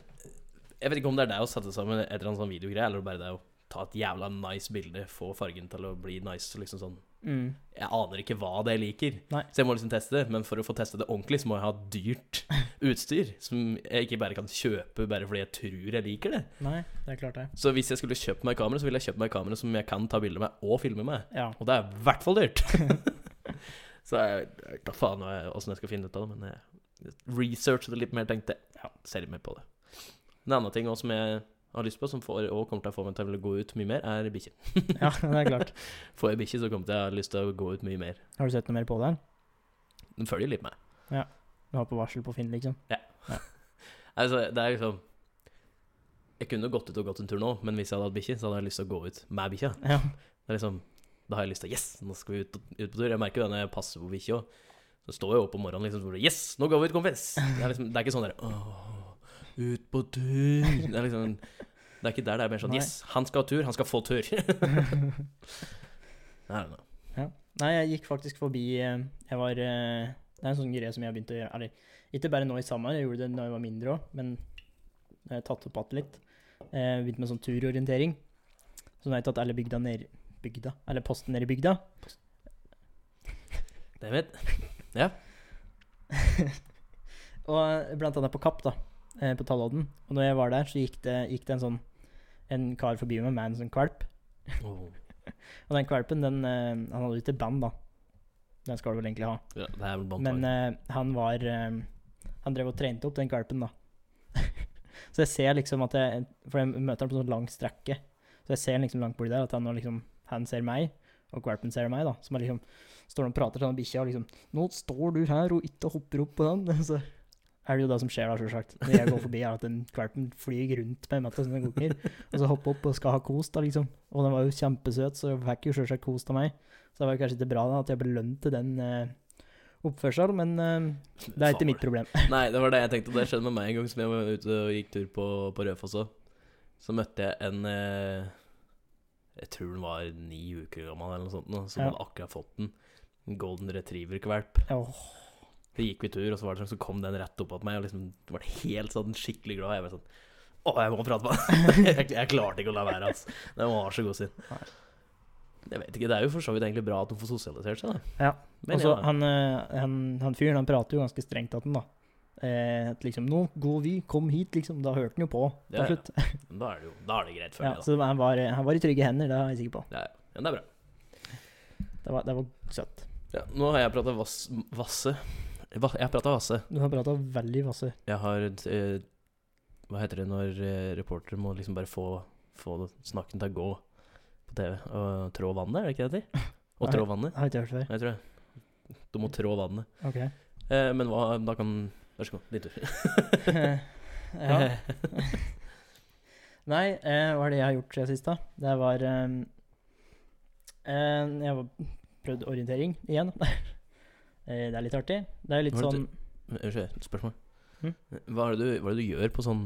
Jeg vet ikke om det er deg å sette sammen et eller annet sånn videogreie, eller bare det å ta et jævla nice bilde, få fargen til å bli nice, liksom sånn Mm. jeg aner ikke hva det jeg liker. Nei. Så jeg må liksom teste det. Men for å få teste det ordentlig, så må jeg ha dyrt utstyr. Som jeg ikke bare kan kjøpe bare fordi jeg tror jeg liker det. Nei, det er klart det. Så hvis jeg skulle kjøpt meg kamera, så ville jeg kjøpt meg kamera som jeg kan ta bilder med og filme med. Ja. Og det er i hvert fall dyrt. så jeg jeg vet da faen hva jeg- åssen jeg skal finne ut av det, men jeg researchet det litt mer, tenkte jeg. Ja, ser litt mer på det. En annen ting også som jeg har lyst på, som får, og kommer til å få meg til å gå ut mye mer, er bikkjer. ja, det er klart. Får jeg bikkje, så kommer jeg til å ha lyst til å gå ut mye mer. Har du sett noe mer på den? Den følger litt med. Du har på varsel på Finn, liksom? Altså, det er liksom Jeg kunne gått ut og gått en tur nå, men hvis jeg hadde hatt bikkje, så hadde jeg lyst til å gå ut med bikkja. Ja. Det er liksom Da har jeg lyst til Yes, nå skal vi ut, ut på tur. Jeg merker jo det når jeg passer på bikkja òg. Så står jeg opp om morgenen liksom og Yes, nå går vi ut, kompis! Det er liksom Det er ikke sånn der Åh, ut på tur Det er liksom Det er ikke der det er mer sånn Nei. Yes, han skal ha tur, han skal få tur. Nei, nei, Nei, jeg gikk faktisk forbi eh, Jeg var eh, Det er en sånn greie som jeg har begynt å gjøre. Eller ikke bare nå i sommer, jeg gjorde det da jeg var mindre òg, men jeg har tatt opp igjen litt. Eh, Begynte med sånn turorientering. Så nå har jeg tatt alle bygda ned, bygda. Eller posten nede i bygda. Det vet Og blant annet på Kapp, da. eh, På Tallodden. Og når jeg var der, så gikk det, gikk det en sånn En kar forbi meg med en sånn kvalp. oh, Og den kvalpen, den eh, Han hadde jo ikke band, da. Den skal du vel egentlig ha. ja, Det er vel bare Men eh, han var eh, Han drev og trente opp den valpen, da. så jeg ser liksom at jeg For jeg møter han på sånn lang strekke. Så jeg ser liksom langt borti der at han, har liksom, han ser meg, og valpen ser meg, da. Som er liksom Står og prater til den bikkja og liksom 'Nå står du her og ikke hopper opp på den.' Så er det jo det som skjer da, selvsagt. Når jeg går forbi, er at den valpen flyr rundt meg med sine konger, og så hopper opp og skal ha kos, da, liksom. Og den var jo kjempesøt, så jeg fikk jo selvsagt kos av meg. Så det var jo kanskje ikke bra da, at jeg belønte den eh, oppførsel, men eh, det er ikke mitt problem. Nei, det var det jeg tenkte. Det skjedde med meg en gang som jeg var ute og gikk tur på, på Rødfoss òg. Så møtte jeg en eh, Jeg tror den var ni uker gammel eller noe sånt, nå, som Ja. hadde akkurat fått den. En golden retriever-kvalp. Åh, Så gikk vi tur, og så, var det sånn, så kom den rett opp at meg, og liksom var helt sånn skikkelig glad. Jeg var sånn Å, jeg må prate med den! jeg, jeg klarte ikke å la være, altså. Den var så god sin. Nei. Jeg vet ikke, Det er jo for så vidt egentlig bra at de får sosialisert seg, da. Ja. Men og så ja, han, eh, han, han fyren, han prater jo ganske strengt til den, da. Eh, at liksom 'Nå går vi, kom hit', liksom. Da hørte han jo på til Ja, ja. slutt. Ja, da er det jo da er det greit, føler jeg. så han var, eh, han var i trygge hender, det er jeg sikker på. da. Ja, ja. Men det er bra. Det var, det var søtt. Ja, nå har jeg prata vass, vasse. Va, jeg har prata vasse. Du har prata veldig masse. Jeg har eh, Hva heter det når eh, reportere må liksom bare få, få snakken til å gå på TV? Og trå vannet, er det ikke det det heter? Og trå vannet. Jeg har ikke hørt før. Jeg tror det. Du må trå vannet. Ok. Eh, men hva Da kan Vær så god, din tur. ja. Nei, eh, hva er det jeg har gjort siden sist, da? Det var eh, eh, Jeg har prøvd orientering igjen. eh, det er litt artig. Det er jo litt Hva er det sånn Unnskyld, et spørsmål. Hm? Hva, er det du, hva er det du gjør på sånn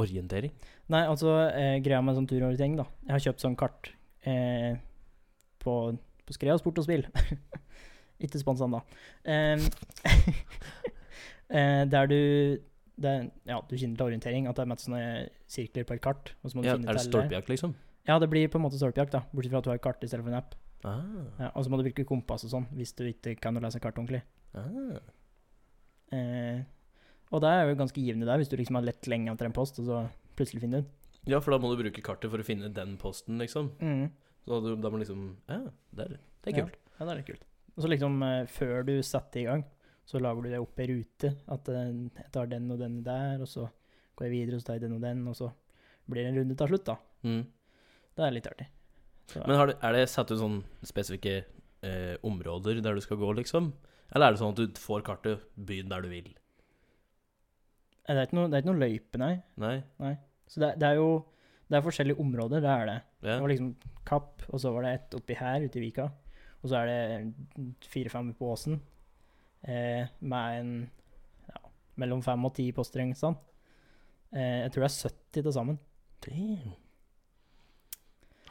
orientering? Nei, altså, eh, greia med sånn turorientering, da. Jeg har kjøpt sånn kart eh, på, på Skrea Sport og Spill. Ikke sponsa da. Em, eh, der du det, er- Ja, du kjenner til orientering, at det er med sånne sirkler på et kart. Og så må du Ja, finne er det til- stolpejakt, liksom? Ja, det blir på en måte stolpejakt, da. Bortsett fra at du har et kart istedenfor en app. Ah, Ja, og så må du bruke kompass og sånn, hvis du ikke kan å lese kart ordentlig. ah. Eh, og det er jo ganske givende der, hvis du liksom har lett lenge etter en post, og så plutselig finner du den. Ja, for da må du bruke kartet for å finne den posten, liksom. Mm. Så da, da må liksom Ja, der. Det er Ja. kult. Ja, det er litt kult. Og så liksom eh, før du setter i gang, så lager du det opp i rute. At eh, jeg tar den og den der, og så går jeg videre og så tar jeg den og den, og så blir det en runde til slutt, da. Mm. Det er litt artig. Så, Men har det, er det satt ut sånn spesifikke eh, områder der du skal gå, liksom? Eller er det sånn at du får kartet, byen der du vil? Eh, det, er ikke noe, det er ikke noe løype, nei. Nei? Så det, er- det er jo det er forskjellige områder, det er det. Ja. Det var liksom Kapp, og så var det et oppi her ute i Vika. Og så er det fire-fem på Åsen, eh, med en ja, mellom fem og ti poster. ikke sant? Eh, jeg tror det er 70 til sammen. Damn.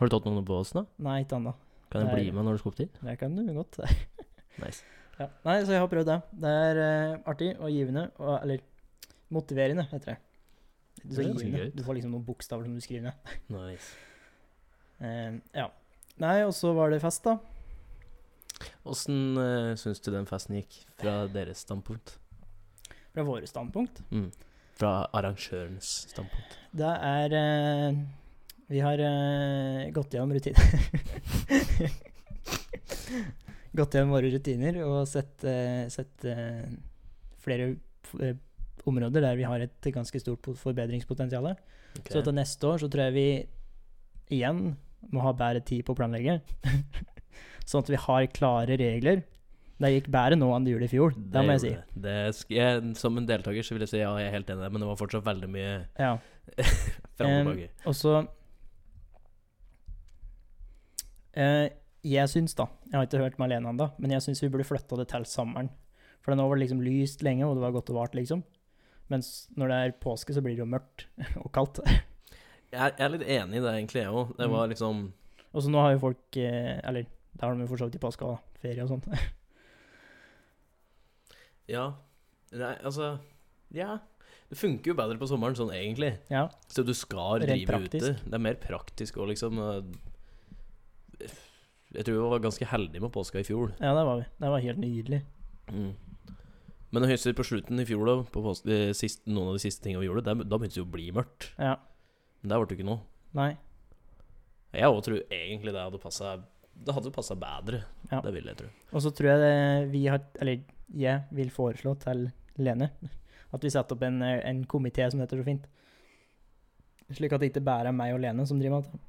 Har du tatt noen på oss, da? Nei, ikke annet. Kan jeg Nei. bli med når du skal opp dit? Det kan du godt. Nice. ja. Nei, så jeg har prøvd det. Det er eh, artig og givende, og, eller motiverende, heter det. Det Det er er så ganske givende. gøy. Du får liksom noen bokstaver som du skriver ned. nice. Eh, ja. Nei, og så var det fest, da. Åssen uh, syns du den festen gikk, fra deres standpunkt? Fra våre standpunkt. Mm. Fra arrangørens standpunkt. Det er eh, Vi har eh, gått gjennom rutiner. gått gjennom våre rutiner og sett, eh, sett eh, flere f- eh, områder der vi har et ganske stort forbedringspotensial. Ok. Så til neste år så tror jeg vi igjen må ha bedre tid på å planlegge. sånn at vi har klare regler. Det gikk bedre nå enn det gjorde i fjor, det, må jeg si. gjorde det. Det sk jeg, som en deltaker så vil jeg si ja, jeg er helt enig, i det, men det var fortsatt veldig mye Ja. fram og Em, tilbake. Og så eh, Jeg syns, da Jeg har ikke hørt med Alene ennå, men jeg syns vi burde flytta det til sommeren. For nå var det liksom lyst lenge, og det var godt og vart, liksom. Mens når det er påske, så blir det jo mørkt og kaldt. Jeg, er- jeg er litt enig i det, egentlig, jeg òg. Det Mm. var liksom Og så nå har jo folk eh, Eller da har de jo for så vidt i påska og ferie og sånt. Ja. Nei, altså Ja. Det funker jo bedre på sommeren sånn egentlig. Ja. Så du skal Rent drive praktisk. ute. Det er mer praktisk òg, liksom. Jeg tror vi var ganske heldige med påska i fjor. Ja, det var vi. Det var helt nydelig. Mm. Men høyst på slutten i fjor, da, på pås- eh, sist, noen av de siste tingene vi gjorde, der, da begynte det jo å bli mørkt. Ja. Men der ble det ikke noe. Nei. Jeg òg tror egentlig det hadde passa Det hadde passa bedre. Ja. Det vil jeg tro. Og så tror jeg det, vi har Eller jeg vil foreslå til Lene at vi setter opp en, eh, en komité som heter så fint. Slik at det ikke bare er meg og Lene som driver med det.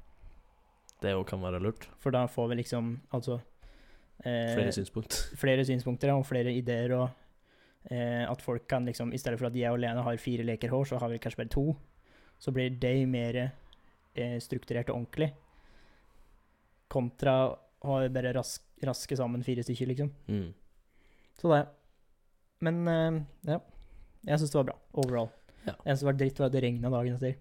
Det òg kan være lurt. For da får vi liksom altså eh, Flere synspunkt. flere synspunkter ja, og flere ideer, og eh, at folk kan liksom I stedet for at jeg og Lene har fire leker hår, så har vi kanskje bare to. Så blir de mer eh, strukturert og ordentlig. Kontra å ha bare rask, raske sammen fire stykker, liksom. Mm. Så det. Men eh, ja. Jeg syns det var bra overall. Ja. Det eneste som var dritt, var at det regna dagen etter.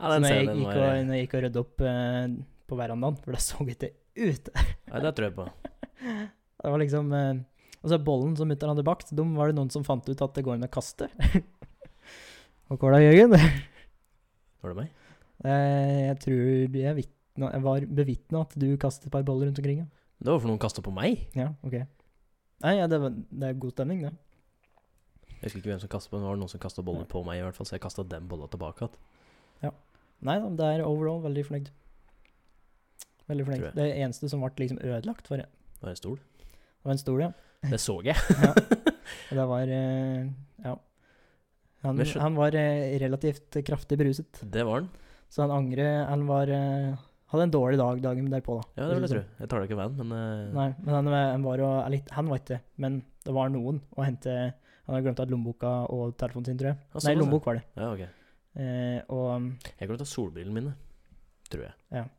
Ja, Så den når jeg, scenen gikk var og, når jeg gikk og rydda opp eh, på verandaen, for da så ikke ut Nei, det tror jeg på. Det var liksom eh, Altså, bollen som mutter'n hadde bakt, dem var det noen som fant ut at det går an å kaste. Og hvordan, Jørgen? Var det meg? Eh, Jeg tror jeg, vitna, jeg var bevitna at du kastet et par boller rundt omkring. Ja, Det var for noen kasta på meg. ja ok. Nei, ja, det, var, det er god stemning, det. Jeg husker ikke hvem som kastet på meg, men det var noen som kasta boller på meg, i hvert fall, så jeg kasta den bolla tilbake igjen. Nei da, det er overall veldig fornøyd. Veldig fornøyd. Tror jeg. Det eneste som ble liksom ødelagt for Det Det var en stol. var en stol, ja. Det så jeg. Og det var eh, Ja. Han, Men skjøn- han var eh, relativt kraftig beruset, Det var den. så han angrer Han var eh, hadde en dårlig dag dagen derpå, da. Ja, det vil jeg tro. Jeg tar det ikke veien, men eh, Nei, men han, var- han var jo er litt Han var ikke det, men det var noen å hente Han hadde glemt at lommeboka og telefonen sin, tror jeg. ja, såpass, Nei, ja. lommebok var det. Ja, ok. Eh, og, Jeg glemte å ta solbrillene mine, tror jeg.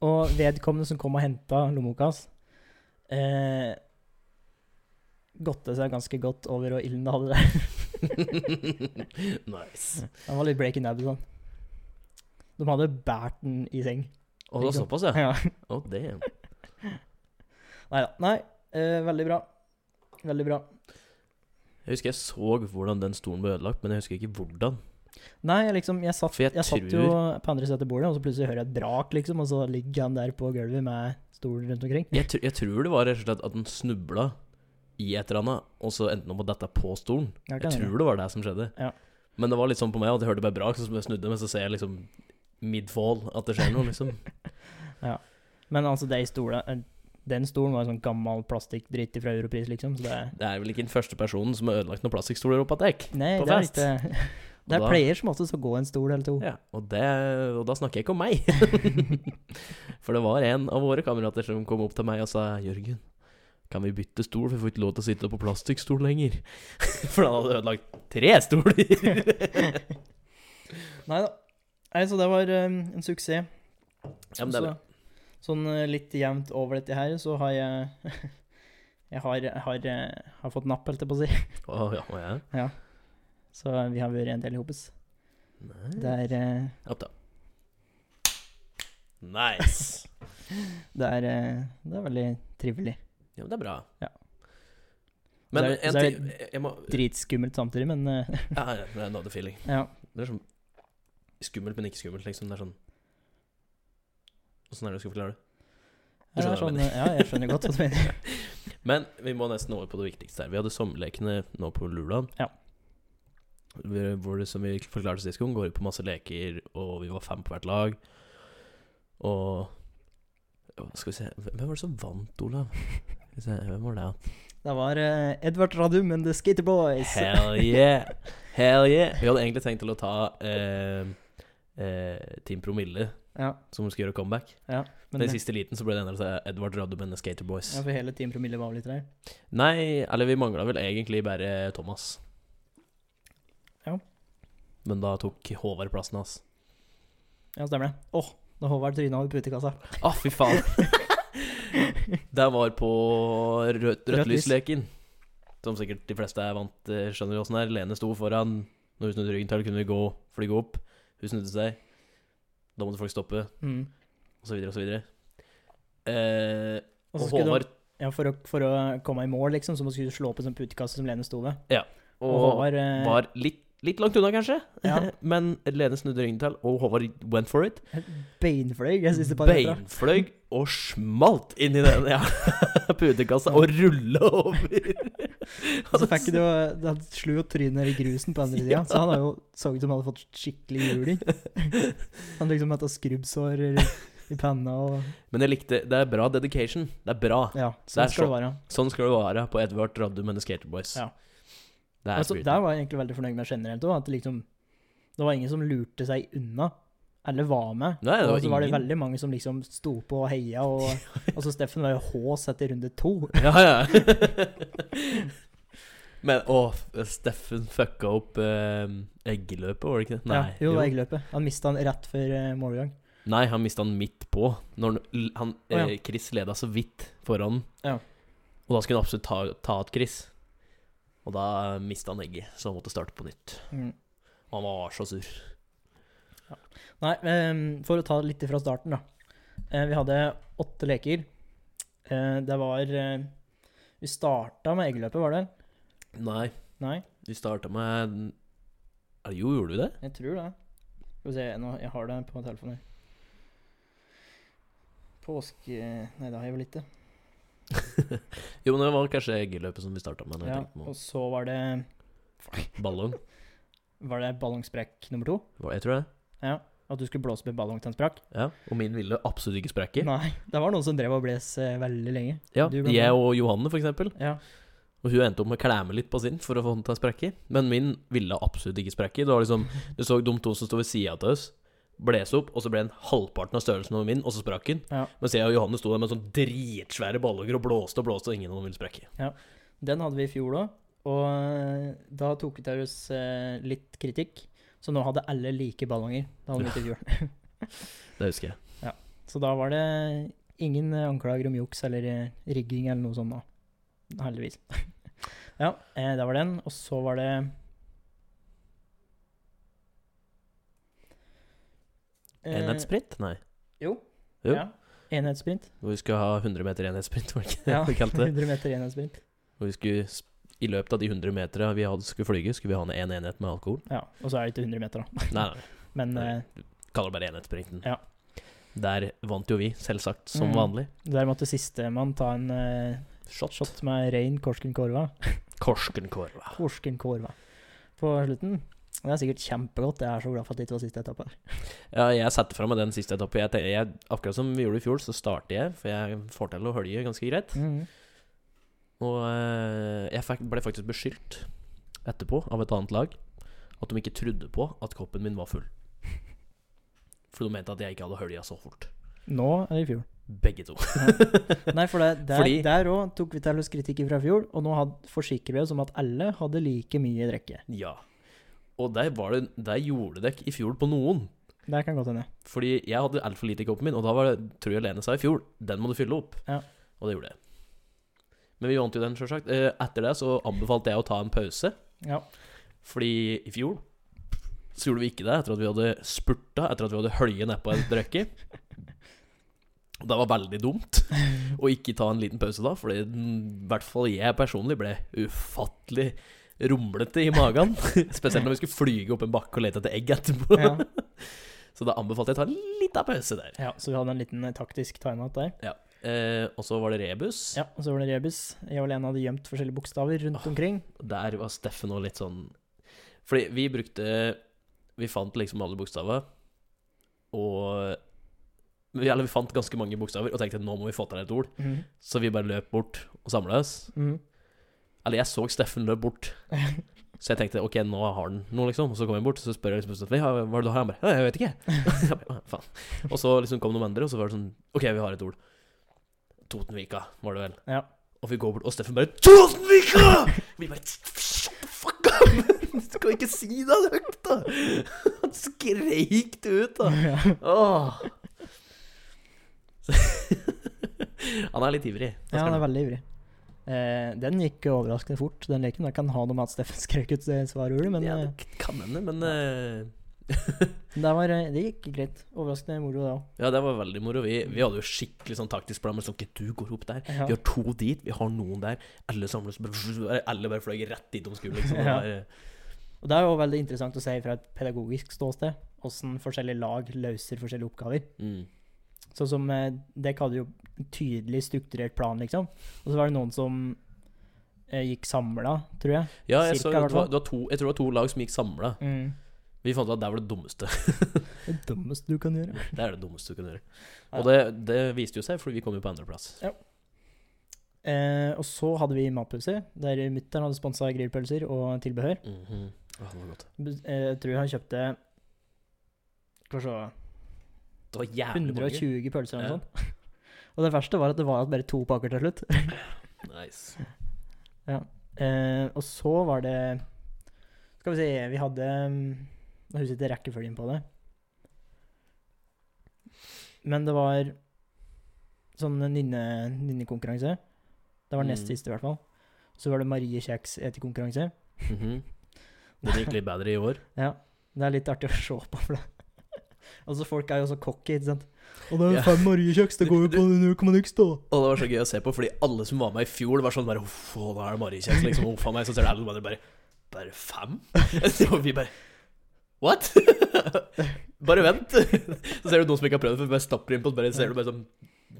og vedkommende som kom og henta lommeboka hans, eh, godte seg ganske godt over hvor ilden det hadde det. nice. Han var litt bleik i nebbet, sånn. De hadde båret den i seng. Å, det var såpass, ja. Ja. Oh, damn. Neida. Nei, eh, veldig bra. Veldig bra. Jeg husker jeg så hvordan den stolen ble ødelagt, men jeg husker ikke hvordan. Nei, jeg liksom, jeg satt, For jeg jeg satt jo på andre siden av bordet, og så plutselig hører jeg et brak, liksom, og så ligger han der på gulvet med stolen rundt omkring. Jeg, tr jeg tror det var rett og slett at den snubla i et eller annet, og så endte den opp med dette på stolen. Jeg Jeg kan hende. tror det var det som skjedde. Ja. Men det var litt sånn på meg at jeg hørte bare brak, så jeg snudde, men så ser jeg liksom midfall at det skjer noe, liksom. Men altså, de stolen, eh, den stolen var sånn gammel plastikkdritt fra Europris, liksom, så det Det er vel ikke den første personen som har ødelagt noen plastikkstoler opp at dekk. Nei, På det er fest. ikke Det er Da- pleier som oftest å gå en stol eller to. Ja, og, det, og da snakker jeg ikke om meg. For det var en av våre kamerater som kom opp til meg og sa Jørgen, kan vi bytte stol, for vi får ikke lov til å sitte på plastikkstol lenger. For han hadde ødelagt tre stoler. Nei da. Nei, så det var eh, en suksess. Ja, men det er bra. Så, sånn eh, litt jevnt over dette her, så har jeg Jeg har, jeg har, eh, har fått napp, holdt jeg på å si. Å, ja, å, ja. Så vi har vært en del i hopes. Nei. Det er, eh, Opp da. Nice. det er, eh, det er veldig trivelig. Ja, men det er bra. Ja. Men Så er- en så er ting jeg må, Dritskummelt samtidig, men eh, ja, ja, Det er another feeling. ja. Det er sånn skummelt, men ikke skummelt, liksom. Det er sånn Åssen er det du skal forklare det? Du Ja, det er skjønner hva jeg sånn, eh, ja, jeg skjønner godt hva du mener. Men vi må nesten over på det viktigste her. Vi hadde sommerlekene nå på Lulan. Ja. Vi- Hvor det, som vi forklarte sist gang, går ut på masse leker, og vi var fem på hvert lag. Og og Skal vi se Hvem var det som vant, Olav? Skal vi se, Hvem var det? Det var eh, Edvard Radum and The Skater Boys. Hell yeah! Hell yeah! Vi hadde egentlig tenkt til å ta eh, eh, Team Promille, Ja, som skulle gjøre comeback. ja. Men Men i det, siste liten så ble det endret til Edvard Radum and the Skater Boys. ja, for hele Team Promille var vel litt der. Nei, eller vi mangla vel egentlig bare Thomas. Ja. Men da tok Håvard plassen hans. Ja, stemmer det. Åh, da Håvard tryna over putekassa. Å, Ah, fy faen! det var på rødt, Rødt rødt lys. lys-leken. Som sikkert de fleste er vant til, skjønner jo åssen det er. Lene sto foran. Når hun snudde ryggen til, kunne vi gå, fly opp. Hun snudde seg. Da måtte folk stoppe. Mm. og så videre og så videre. Eh, Og og så skulle de- Håvard Ja, for å, for å komme i mål, liksom, så må du skulle slå opp en sånn putekasse som Lene sto ved. og Og, Håvard eh, var litt Litt langt unna, kanskje, Ja. men Lene snudde ryggen til, og Håvard went for it. Beinfløy. Jeg synes det bare er bra. Beinfløy og smalt inn i den ja, putekassa og rulla over. Og så fikk det jo, han slo jo trynet i grusen på andre sida, så han har jo så ut som han hadde fått skikkelig juling. Han liksom hadde skrubbsår i panna og Men jeg likte Det er bra dedication. Det er bra. Ja, Så det er sånn skal det være. Sånn skal det være på Edvard Raddum and the Skater Boys. Ja. Det er Altså, spirit. der var jeg egentlig veldig fornøyd med generelt òg, at det liksom Det var ingen som lurte seg unna, eller var med. Nei, det og var så var det ingen. veldig mange som liksom sto på og heia, og altså Steffen var jo hås etter runde to. Ja, ja. Men å, eh, Steffen fucka opp eh, eggeløpet, var det ikke det? Nei, ja, jo, det var eggløpet. Han mista han rett før eh, målgang. Nei han mista den midt på. Når han, han, Å, ja. eh, Chris leda så vidt foran. Ja. Og da skulle han absolutt ta, ta ut Chris. Og da mista han egget, så han måtte starte på nytt. Mm. Og han var så sur. Nei, ehm, for å ta det litt fra starten, da. Eh, vi hadde åtte leker. Eh, det var eh, Vi starta med eggløpet, var det? Nei, Nei, vi starta med Er det- Jo, gjorde du det? jeg tror det. Skal vi se, nå, jeg har det på telefonen her. Påske... Nei, det har jeg vel ikke. Jo, men det var kanskje eggeløpet som vi starta med. Når Ja, jeg tenkte og på så var det Ballong. Var det ballongsprekk nummer to? Var- Jeg tror det. Ja. At du skulle blåse opp en ballong til den sprakk? Ja, Og min ville absolutt ikke sprekke. Nei. Det var noen som drev og bles eh, veldig lenge. Ja, Du ble jeg med. og Johanne, for eksempel. Ja. Og hun endte opp med å klemme litt på sin for å få den til å sprekke. Men min ville absolutt ikke sprekke. Det var liksom, du så de to som sto ved sida av oss, bles opp, og så ble den halvparten av størrelsen over min, og så sprakk den. Ja. Mens jeg og Johanne sto der med sånn dritsvære ballonger og blåste og blåste, og ingen av dem ville sprekke. Den hadde vi i fjor òg, og eh, da tok vi til oss eh, litt kritikk. Så nå hadde alle like ballonger. Da hadde vi ikke i fjor. Det husker jeg. Så da var det ingen eh, anklager om juks eller eh, rigging eller noe sånt nå. Heldigvis. Ja, eh, det var den. Og så var det Eh, Enhetssprint? Nei. Jo. Jo. Ja. Enhetssprint. Hvor vi skulle ha 100 meter enhetssprint, var det ikke det Ja, vi kalte det? 100 meter enhetssprint. Hvor vi skulle, sp- I løpet av de 100 meterne vi hadde, skulle flyge, skulle vi ha ned én en enhet med alkohol. Ja, og så er det ikke 100 meter, da. Nei, nei. Men Nei. eh, Kaller det bare enhetssprinten. Ja. Der vant jo vi, selvsagt, som Mm. vanlig. der måtte sistemann ta en eh, Shot. Shot med rein korskenkorva. Korskenkorva. Korskenkorva på slutten. Det er sikkert kjempegodt. Jeg er så glad for at det ikke var siste etappe. Ja, jeg satte fra meg den siste etappen. Jeg, te- jeg, akkurat som vi gjorde i fjor, så starter jeg, for jeg får til å hølje ganske greit. Og eh, jeg fikk, ble faktisk beskyldt etterpå av et annet lag at de ikke trodde på at koppen min var full. For de mente at jeg ikke hadde hølja så fort. Nå eller i fjor? Begge to. Nei, for det, der, Fordi- der òg tok vi til oss kritikk fra fjor, og nå had, forsikrer vi oss om at alle hadde like mye drikke. Ja. Og der, var det, der gjorde dere i fjor på noen. Det kan godt hende. Fordi jeg hadde altfor lite i koppen min, og da var det, tror jeg Lene sa i fjor, den må du fylle opp. Ja. Og det gjorde jeg. Men vi vant jo den, sjølsagt. Eh, Etter det så anbefalte jeg å ta en pause, Ja. fordi i fjor så gjorde vi ikke det etter at vi hadde spurta, etter at vi hadde hølje nedpå en drikke. Det var veldig dumt å ikke ta en liten pause da, fordi den- i hvert fall jeg personlig ble ufattelig rumlete i magen. Spesielt når vi skulle flyge opp en bakke og lete etter egg etterpå. Ja. Så da anbefalte jeg å ta en liten pause der. ja, Så vi hadde en liten eh, taktisk timeout der. Eh, og så var det rebus. Ja, Og så var det rebus. Jeg og Lene hadde gjemt forskjellige bokstaver rundt omkring. Der var Steffen òg litt sånn Fordi vi brukte Vi fant liksom alle bokstavene, og vi- Eller vi fant ganske mange bokstaver og tenkte nå må vi få til et ord. Mhm. Så vi bare løp bort og samla oss. Mhm. Eller jeg så Steffen løp bort. Så jeg tenkte ok, nå har han noe, liksom. Og så kom jeg bort og så spør jeg liksom Steffen «Ja, hva er det du har. Han bare «Ja, jeg vet ikke. Jeg bare, «Å, Faen. Og så liksom kom noen andre, og så var det sånn OK, vi har et ord. Totenvika, var det vel. Ja. Og vi går bort, og Steffen bare Totenvika! Og Vi bare Shut the fuck up! Du skal ikke si det høyt, da! Han skreik det ut, da. Ja. Åh. Så, han er litt ivrig. Det skal Ja, han han. er veldig ivrig. Eh, den gikk overraskende fort, den leken. Jeg kan ha noe med at Steffen skrøk ut eh, svarordet, men ja, eh, det kan hende, men eh, det, var, eh, det gikk greit. Overraskende moro, det òg. Ja, det var veldig moro. Vi, vi hadde jo skikkelig sånn taktisk plan. Men sånn, ok, du går opp der. Ja. Vi har to dit, vi har noen der. Alle samles Alle bare fløy rett dit de skulle, liksom. Det Ja. var, eh, Og det er jo veldig interessant å se fra et pedagogisk ståsted hvordan forskjellige lag løser forskjellige oppgaver. Mm. Sånn som eh, Dek hadde jo en tydelig strukturert plan, liksom. Og så var det noen som eh, gikk samla, tror jeg. Ja, jeg, Cirka, så, i hvert det var, fall. det var to, jeg tror det var to lag som gikk samla. Vi fant ut at det var det dummeste. Det dummeste du kan gjøre. Det er det dummeste du kan gjøre. Ja. Og det, det viste jo seg, for vi kom jo på andreplass. Eh, og så hadde vi matpause, der mutter'n hadde sponsa grillpølser og tilbehør. Mhm. Åh, det var godt. Bu- eh, Jeg tror han kjøpte Skal vi se Det var jævlig mange. 120 pølser eller Ja. noe sånt. Og det verste var at det var bare to pakker til slutt. Nice. Eh, og så var det Skal vi se, vi hadde mm, Jeg husker ikke rekkefølgen på det. Men det var sånn nynne- nynnekonkurranse. Det var nest Mm. siste, i hvert fall. Så var det Marie Kjeks etekonkurranse. Mhm. Det gikk litt bedre i år. Ja, det er litt artig å se på. for det. Altså, Folk er jo så cocky, ikke sant. Og det Ja. er fem Mariekjeks, det går jo på null komma niks, da. Og det var så gøy å se på, fordi alle som var med i fjor, var sånn bare Uff, å, da er det Marikjeks, liksom. Uff a meg. Så ser du alle som bare Bare, bare fem? Og vi bare What? bare vent. så ser du noen som ikke har prøvd det, for bare stapper inn på det, bare ser du bare sånn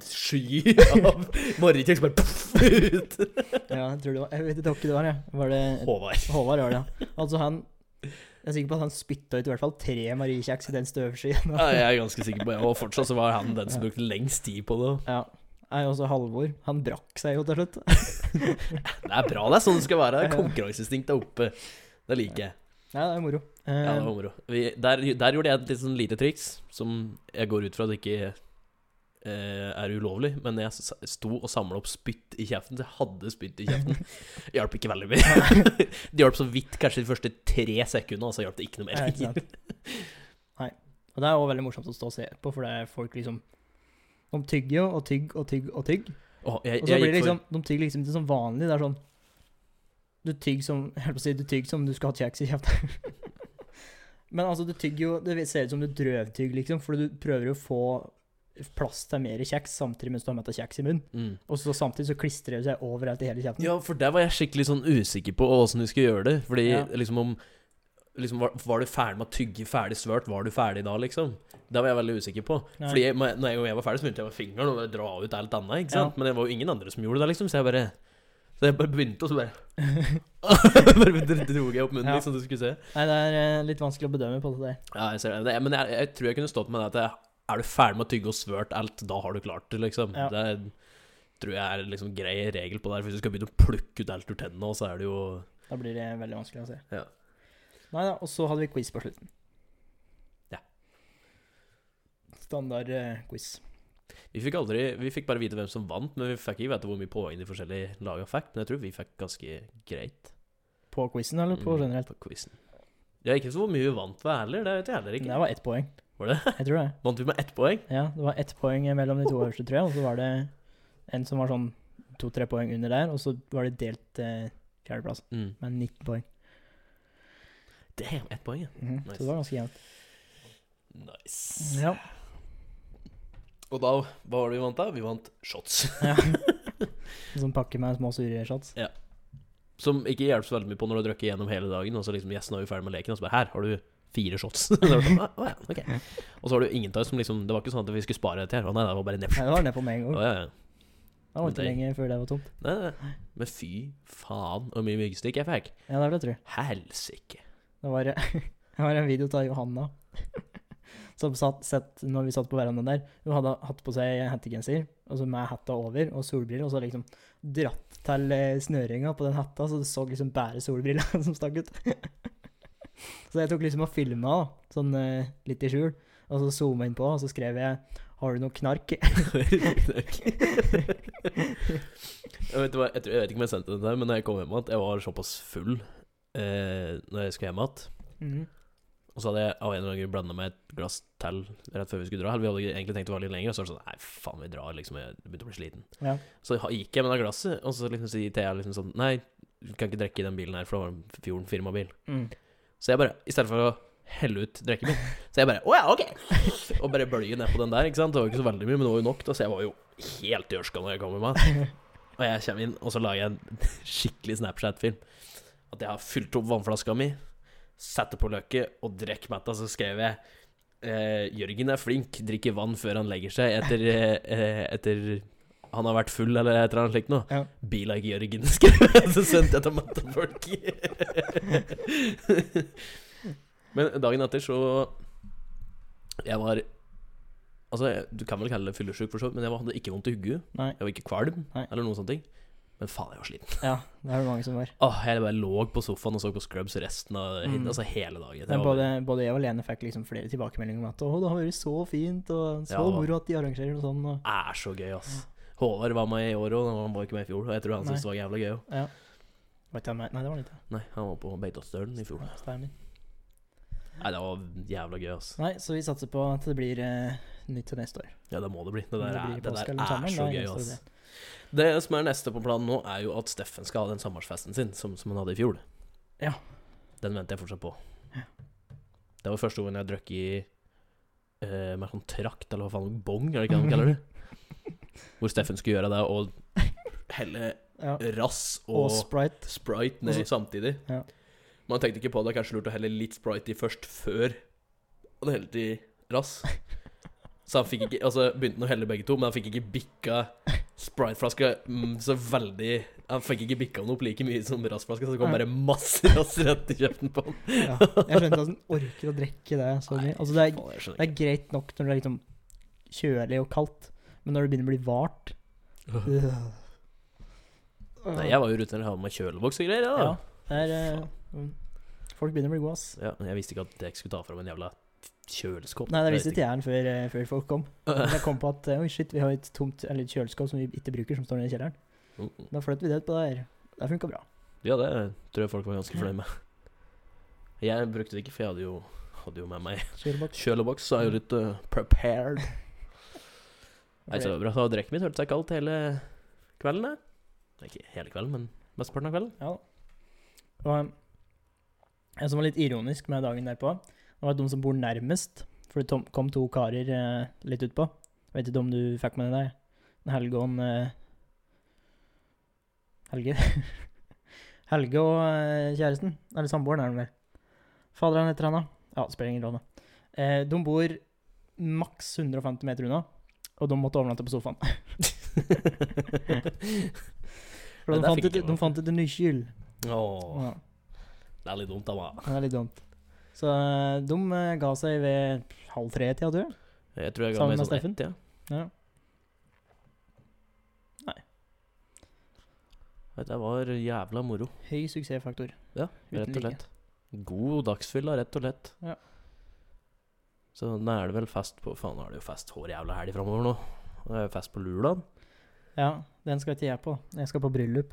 sky av Marikjeks bare puff, ut. Ja, jeg tror det var Jeg vet ikke hvem det var, jeg. Var det Håvard. Håvard var det, ja. Altså, han Jeg er sikker på at han spytta ut i hvert fall tre Mariekjeks i den støvskyen. Ja, jeg er ganske sikker på det. Og fortsatt så var han den som brukte lengst tid på det. Ja. Jeg er også Halvor. Han brakk seg jo til slutt. Det er bra, det er sånn det skal være. Konkurranseinstinktet er oppe. Det liker jeg. Ja, det er moro. Eh, Ja, det var moro. Vi, der, der gjorde jeg et litt sånn lite triks, som jeg går ut fra at det ikke eh, er ulovlig, men jeg s- sto og samla opp spytt i kjeften, så jeg hadde spytt i kjeften. Hjalp ikke veldig mye. det hjalp så vidt kanskje de første tre sekundene, og så hjalp det ikke noe ja, ikke mer. sant. Nei. Og det er også veldig morsomt å stå og se på, for det er folk liksom De tygger jo og tygg og tygg og tygg. Og jeg, Og så jeg blir det gikk for liksom De tygger liksom ikke som vanlig. Det er sånn Du tygg som Jeg holdt på å si du tygg som du skal ha kjeks i kjeften. Men altså, du tygger jo Det ser ut som du drøvtygger, liksom, for du prøver jo å få plass til mer kjeks samtidig mens du har metta kjeks i munnen. mm. Og så samtidig så klistrer det seg overalt i hele kjeften. Ja, for der var jeg skikkelig sånn usikker på åssen du skulle gjøre det. Fordi Ja. liksom om liksom, var, var du ferdig med å tygge ferdig svørt? Var du ferdig da, liksom? Det var jeg veldig usikker på. Nei. Fordi jeg, når jeg- når jeg var ferdig, så begynte jeg med fingeren og bare dra ut alt annet. Ikke sant? Ja. Men det var jo ingen andre som gjorde det, liksom. Så jeg bare Så jeg bare begynte, og så bare Bare dro- dro jeg opp munnen, Ja. liksom, du skulle se. Nei, det er eh, litt vanskelig å bedømme på det der. Ja, jeg ser det. det. Men jeg, jeg tror jeg kunne stått med det at jeg, er du ferdig med å tygge og svørt alt, da har du klart det, liksom. Ja. Det er- tror jeg er liksom grei regel på det her. for Hvis du skal begynne å plukke ut alt ur tennene, så er det jo Da blir det veldig vanskelig å se. Ja. Nei da, og så hadde vi quiz på slutten. Ja. Standard eh, quiz. Vi fikk aldri, vi fikk bare vite hvem som vant, men vi fikk ikke vite hvor mye poeng de forskjellige lagene fikk. Men jeg tror vi fikk ganske greit På quizen eller på Mm, generelt? på quizen. Ja, ikke så hvor mye vi vant med heller, det vet jeg heller ikke. Det var ett poeng. Var det? Jeg tror det. Vant vi med ett poeng? Ja, det var ett poeng mellom de to øverste, tror jeg. Og så var det en som var sånn to-tre poeng under der, og så var det delt eh, fjerdeplass Mm. med 19 poeng. Damn, ett poeng, ja. Mhm, Så Nice. det var ganske jevnt. Nice. Ja. Og da, hva var det vi vant da? Vi vant shots. ja. En sånn pakke med små sure shots. Som ikke hjelper så veldig mye på når du har drukket gjennom hele dagen, og så liksom gjesten er jo ferdig med leken, og så bare her har du fire shots. Og så var det sånn, «Å, å ja, ok. Og så har du ingen av oss som liksom Det var ikke sånn at vi skulle spare dette her. Å nei, det var bare Nei, nedpå. det var nedpå med en gang. Ja, ja. Det var ikke Nei. lenge før det var tomt. Nei, nei, nei. Men fy faen hvor mye myggstikk jeg fikk. Ja, det er det, tror jeg. Helsike. Det var, det var en video av Johanna som satt sett når vi satt på verandaen der. Hun hadde hatt på seg hettegenser, og så med hetta over, og solbriller, og så liksom dratt til eh, snøringa på den hetta, så du så liksom bare solbrilla som stakk ut. Så jeg tok liksom og filma, da, sånn eh, litt i skjul, og så zooma inn på, og så skrev jeg 'Har du noe knark?' Jeg vet, hva- jeg, tror, jeg vet ikke om jeg sendte den der, men når jeg kom hjem igjen, jeg var såpass full eh, når jeg skulle hjem igjen. Mhm. Og så hadde jeg av en eller annen grunn blanda meg et glass til rett før vi skulle dra. Eller vi hadde egentlig tenkt å være litt lenger, og så var det sånn Nei, faen, vi drar, liksom. Jeg begynte å bli sliten. Ja. Så ha- gikk jeg med det glasset, og så liksom sier Thea liksom sånn Nei, du kan ikke drikke i den bilen her, for det var en fjorden firmabil. Mm. Så jeg bare, i stedet for å helle ut drikken min, så jeg bare Å ja, ok! Og bare bølge ned på den der, ikke sant. Det var jo ikke så veldig mye, men det var jo nok, da, så jeg var jo helt gjørska når jeg kom med meg. Og jeg kommer inn, og så lager jeg en skikkelig Snapchat-film. At jeg har fylt opp vannflaska mi, Sette på løkket og drekk matta, så skrev jeg eh, Jørgen er flink, drikker vann før han legger seg etter, eh, eh, etter han har vært full eller et eller annet slikt noe. Ja. Be like Jørgen, skrev jeg. Så sendte jeg til matta-folk. Men dagen etter så Jeg var Altså, jeg- du kan vel kalle det fyllesyk, for så vidt, men jeg var- hadde ikke vondt i hodet. Nei. Jeg var ikke kvalm Nei. eller noen sånne ting. Men faen, jeg var sliten. Ja, det er det mange som var. Åh, jeg bare lå på sofaen og så på Scrubs resten av Mm. altså hele dagen. Det Men var både, både jeg og Lene fikk liksom flere tilbakemeldinger om at å, det har vært så fint, og så Ja. moro at de arrangerer noe sånn. Og, bare- er så gøy, ass. Håvard var med i år òg, han var ikke med i fjor. Og jeg tror han Nei. syntes det var jævla gøy òg. Vet du hva jeg mener? Nei, det var det ikke. Nei, han var på Beitostølen i fjor. Ja, stemmer. Nei, det var jævla gøy, ass. Nei, så vi satser på at det blir eh, nytt til neste år. Ja, det må det bli. Det der, Om er, blir i det påske der eller er sommeren, så da gøy, gjenstår ass. det. Det som er neste på planen nå, er jo at Steffen skal ha den sommerfesten sin, som, som han hadde i fjor. Ja. Den venter jeg fortsatt på. Ja. Det var første gangen jeg drakk i eh, med kontrakt, eller hva faen, bong, er det ikke det de kaller det? Hvor Steffen skulle gjøre det, og helle Ja. rass og Og Sprite. Sprite ned Og samtidig. Ja. Man tenkte ikke på det, kanskje lurt å helle litt Sprite i først, før han helte i rass. Så han fikk ikke Altså, begynte han å helle begge to, men han fikk ikke bikka Sprite-flaska mm, så veldig Han fikk ikke bikka den opp like mye som rassflaska, så det kom Nei. bare masse rass rett i kjeften på han. Ja. Jeg skjønner ikke at den orker å drikke det. Så mye. Altså, det, er, Faen, jeg skjønner det er greit nok når det er liksom kjølig og kaldt, men når det begynner å bli vart ikke. øh. Nei, jeg var jo rutinert, hadde med kjøleboks og greier, jeg, Ja, da. det er eh, mm, Folk begynner å bli gode, ass. Ja. men jeg visste ikke at jeg ikke skulle ta fram en jævla kjøleskåp. Nei, det visste ikke jeg den før, eh, før folk kom. Men jeg kom på at eh, oi, shit, vi har et tomt eller et kjøleskap som vi ikke bruker, som står nede i kjelleren. jeg. Da flytter vi det på der. Det funka bra. Ja, det tror jeg folk var ganske fornøyd med. Jeg brukte det ikke, for jeg hadde jo, hadde jo med meg Kjøleboks. Kjøleboks så er jo litt eh, prepared. Nei, så det var bra. Så drekket mitt hørte seg kaldt hele kvelden. det. Ikke hele kvelden, men mesteparten av kvelden. Ja. Og um, en som var litt ironisk med dagen derpå, det var at de som bor nærmest, for det tom- kom to karer eh, litt utpå. Jeg vet ikke om du fikk med deg det? Helge og en, eh, Helge? Helge og eh, kjæresten, eller samboeren er de vel. Fader, han heter han da. Ja, det spiller ingen rolle. Eh, de bor maks 150 meter unna, og de måtte overnatte på sofaen. For Nei, det fikk ikke de fant, ikke, jeg med de meg. fant ikke nykyl. Åh, Ja. det er litt dumt, da. hva? Ja, Det er litt dumt. Så eh, de eh, ga seg ved halv tre-tida, du. Jeg tror jeg ga Sammen meg med sånn Steffen? ett, ja. Ja. Det var jævla moro. Høy suksessfaktor. Ja, Uten rett like. og slett. God dagsfylla, rett og slett. Ja. Så nå er det vel fest på Faen, nå er det jo fest hver jævla helg framover nå. Nå er det fest på Lurdan. Ja, den skal ikke jeg på. Jeg skal på bryllup.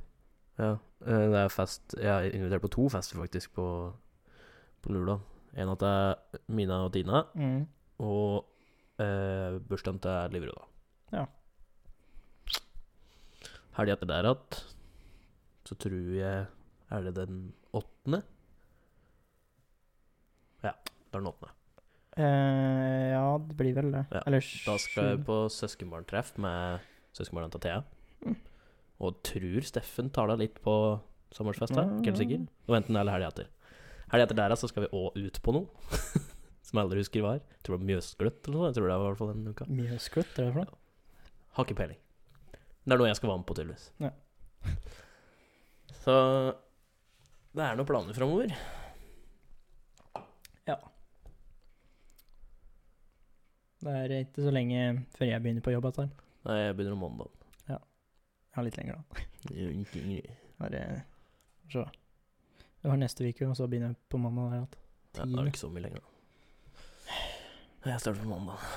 Ja, eh, det er fest Jeg er invitert på to fester faktisk på, på Lurdan. En at det er Mina og Tina, Mm. og eh, bursdagen til Livrud, da. Ja. Helga etter der at så tror jeg Er det den åttende? Ja, det er den åttende. Eh, ja, det blir vel det. Ja, Eller Da skal jeg sju. på søskenbarntreff med søskenbarna til Thea. Mm. Og tror Steffen tar deg litt på sommerfest her, Mm. ikke helt sikker. Og enten det eller helga etter. Helga etter der altså, skal vi òg ut på noe. Som jeg aldri husker hva er. Jeg Tror det var Mjøsgløtt eller noe. Jeg tror det var i hvert fall den uka. Mjøskutt, er det for noe? Har ikke peiling. Det er noe jeg skal være med på, tydeligvis. Ja. Så det er noen planer framover. Det er ikke så lenge før jeg begynner på jobb. Altså. Nei, jeg begynner om mandag. Ja, litt lenger, da. Ja, Bare se. Jeg har neste uke, og så begynner jeg på mandag. Der, alt. det er ikke så mye lenger, da. Jeg starter på mandag.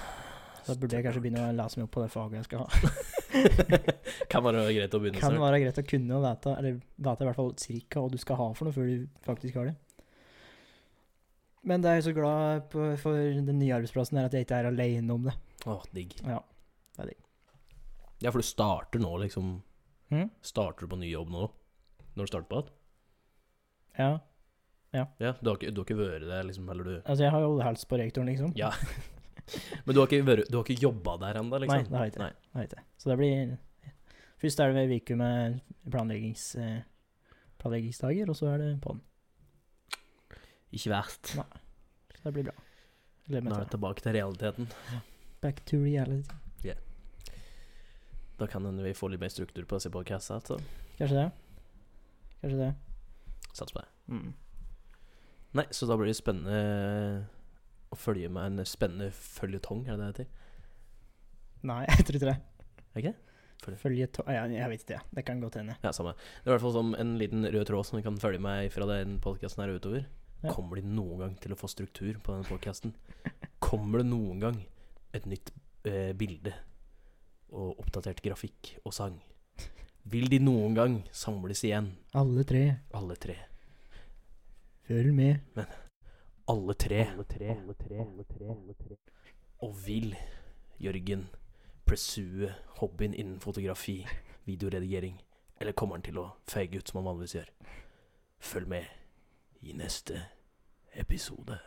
Da burde jeg kanskje begynne å lese meg opp på det faget jeg skal ha. kan være greit å begynne Kan snart. være greit å kunne og vite, eller vite i hvert fall cirka hva du skal ha for noe før du faktisk har det. Men det er jeg så glad på, for den nye arbeidsplassen her at jeg ikke er alene om det. Åh, digg. Ja. Ja, for du starter nå, liksom. Mhm. Starter du på ny jobb nå? Når du starter på det? ja. Ja, du har ikke, du har ikke vært der, liksom, eller du Altså, jeg har jo hals på rektoren, liksom. Ja, Men du har ikke, vært- du har ikke jobba der ennå, Nei, liksom? det har jeg ikke. Nei. Det har jeg ikke. Så det blir Først er det ved uke med planleggings, eh, planleggingsdager, og så er det på den. Ikke verst. Så det blir bra. Gleder Nå er meg til vi det. tilbake til realiteten. Back to reality. Da kan hende vi får litt mer struktur på altså. disse podcastene. så Kanskje det. Kanskje det. Sats på det. Mm. Nei, så da blir det spennende å følge med en spennende føljetong, er det det det heter? Nei, jeg tror ikke det. Ikke? Følgetong ja, Jeg vet ikke, jeg. Det kan godt hende. Ja, samme. Det er i hvert fall som en liten rød tråd som vi kan følge med fra den podkasten her utover. Ja. Kommer de noen gang til å få struktur på den podkasten? Kommer det noen gang et nytt eh, bilde og oppdatert grafikk og sang? Vil de noen gang samles igjen, Alle tre, alle tre? følg med. Alle tre. Og vil Jørgen pursue hobbyen innen fotografi, videoredigering, eller kommer han til å feige ut som han vanligvis gjør? Følg med i neste episode.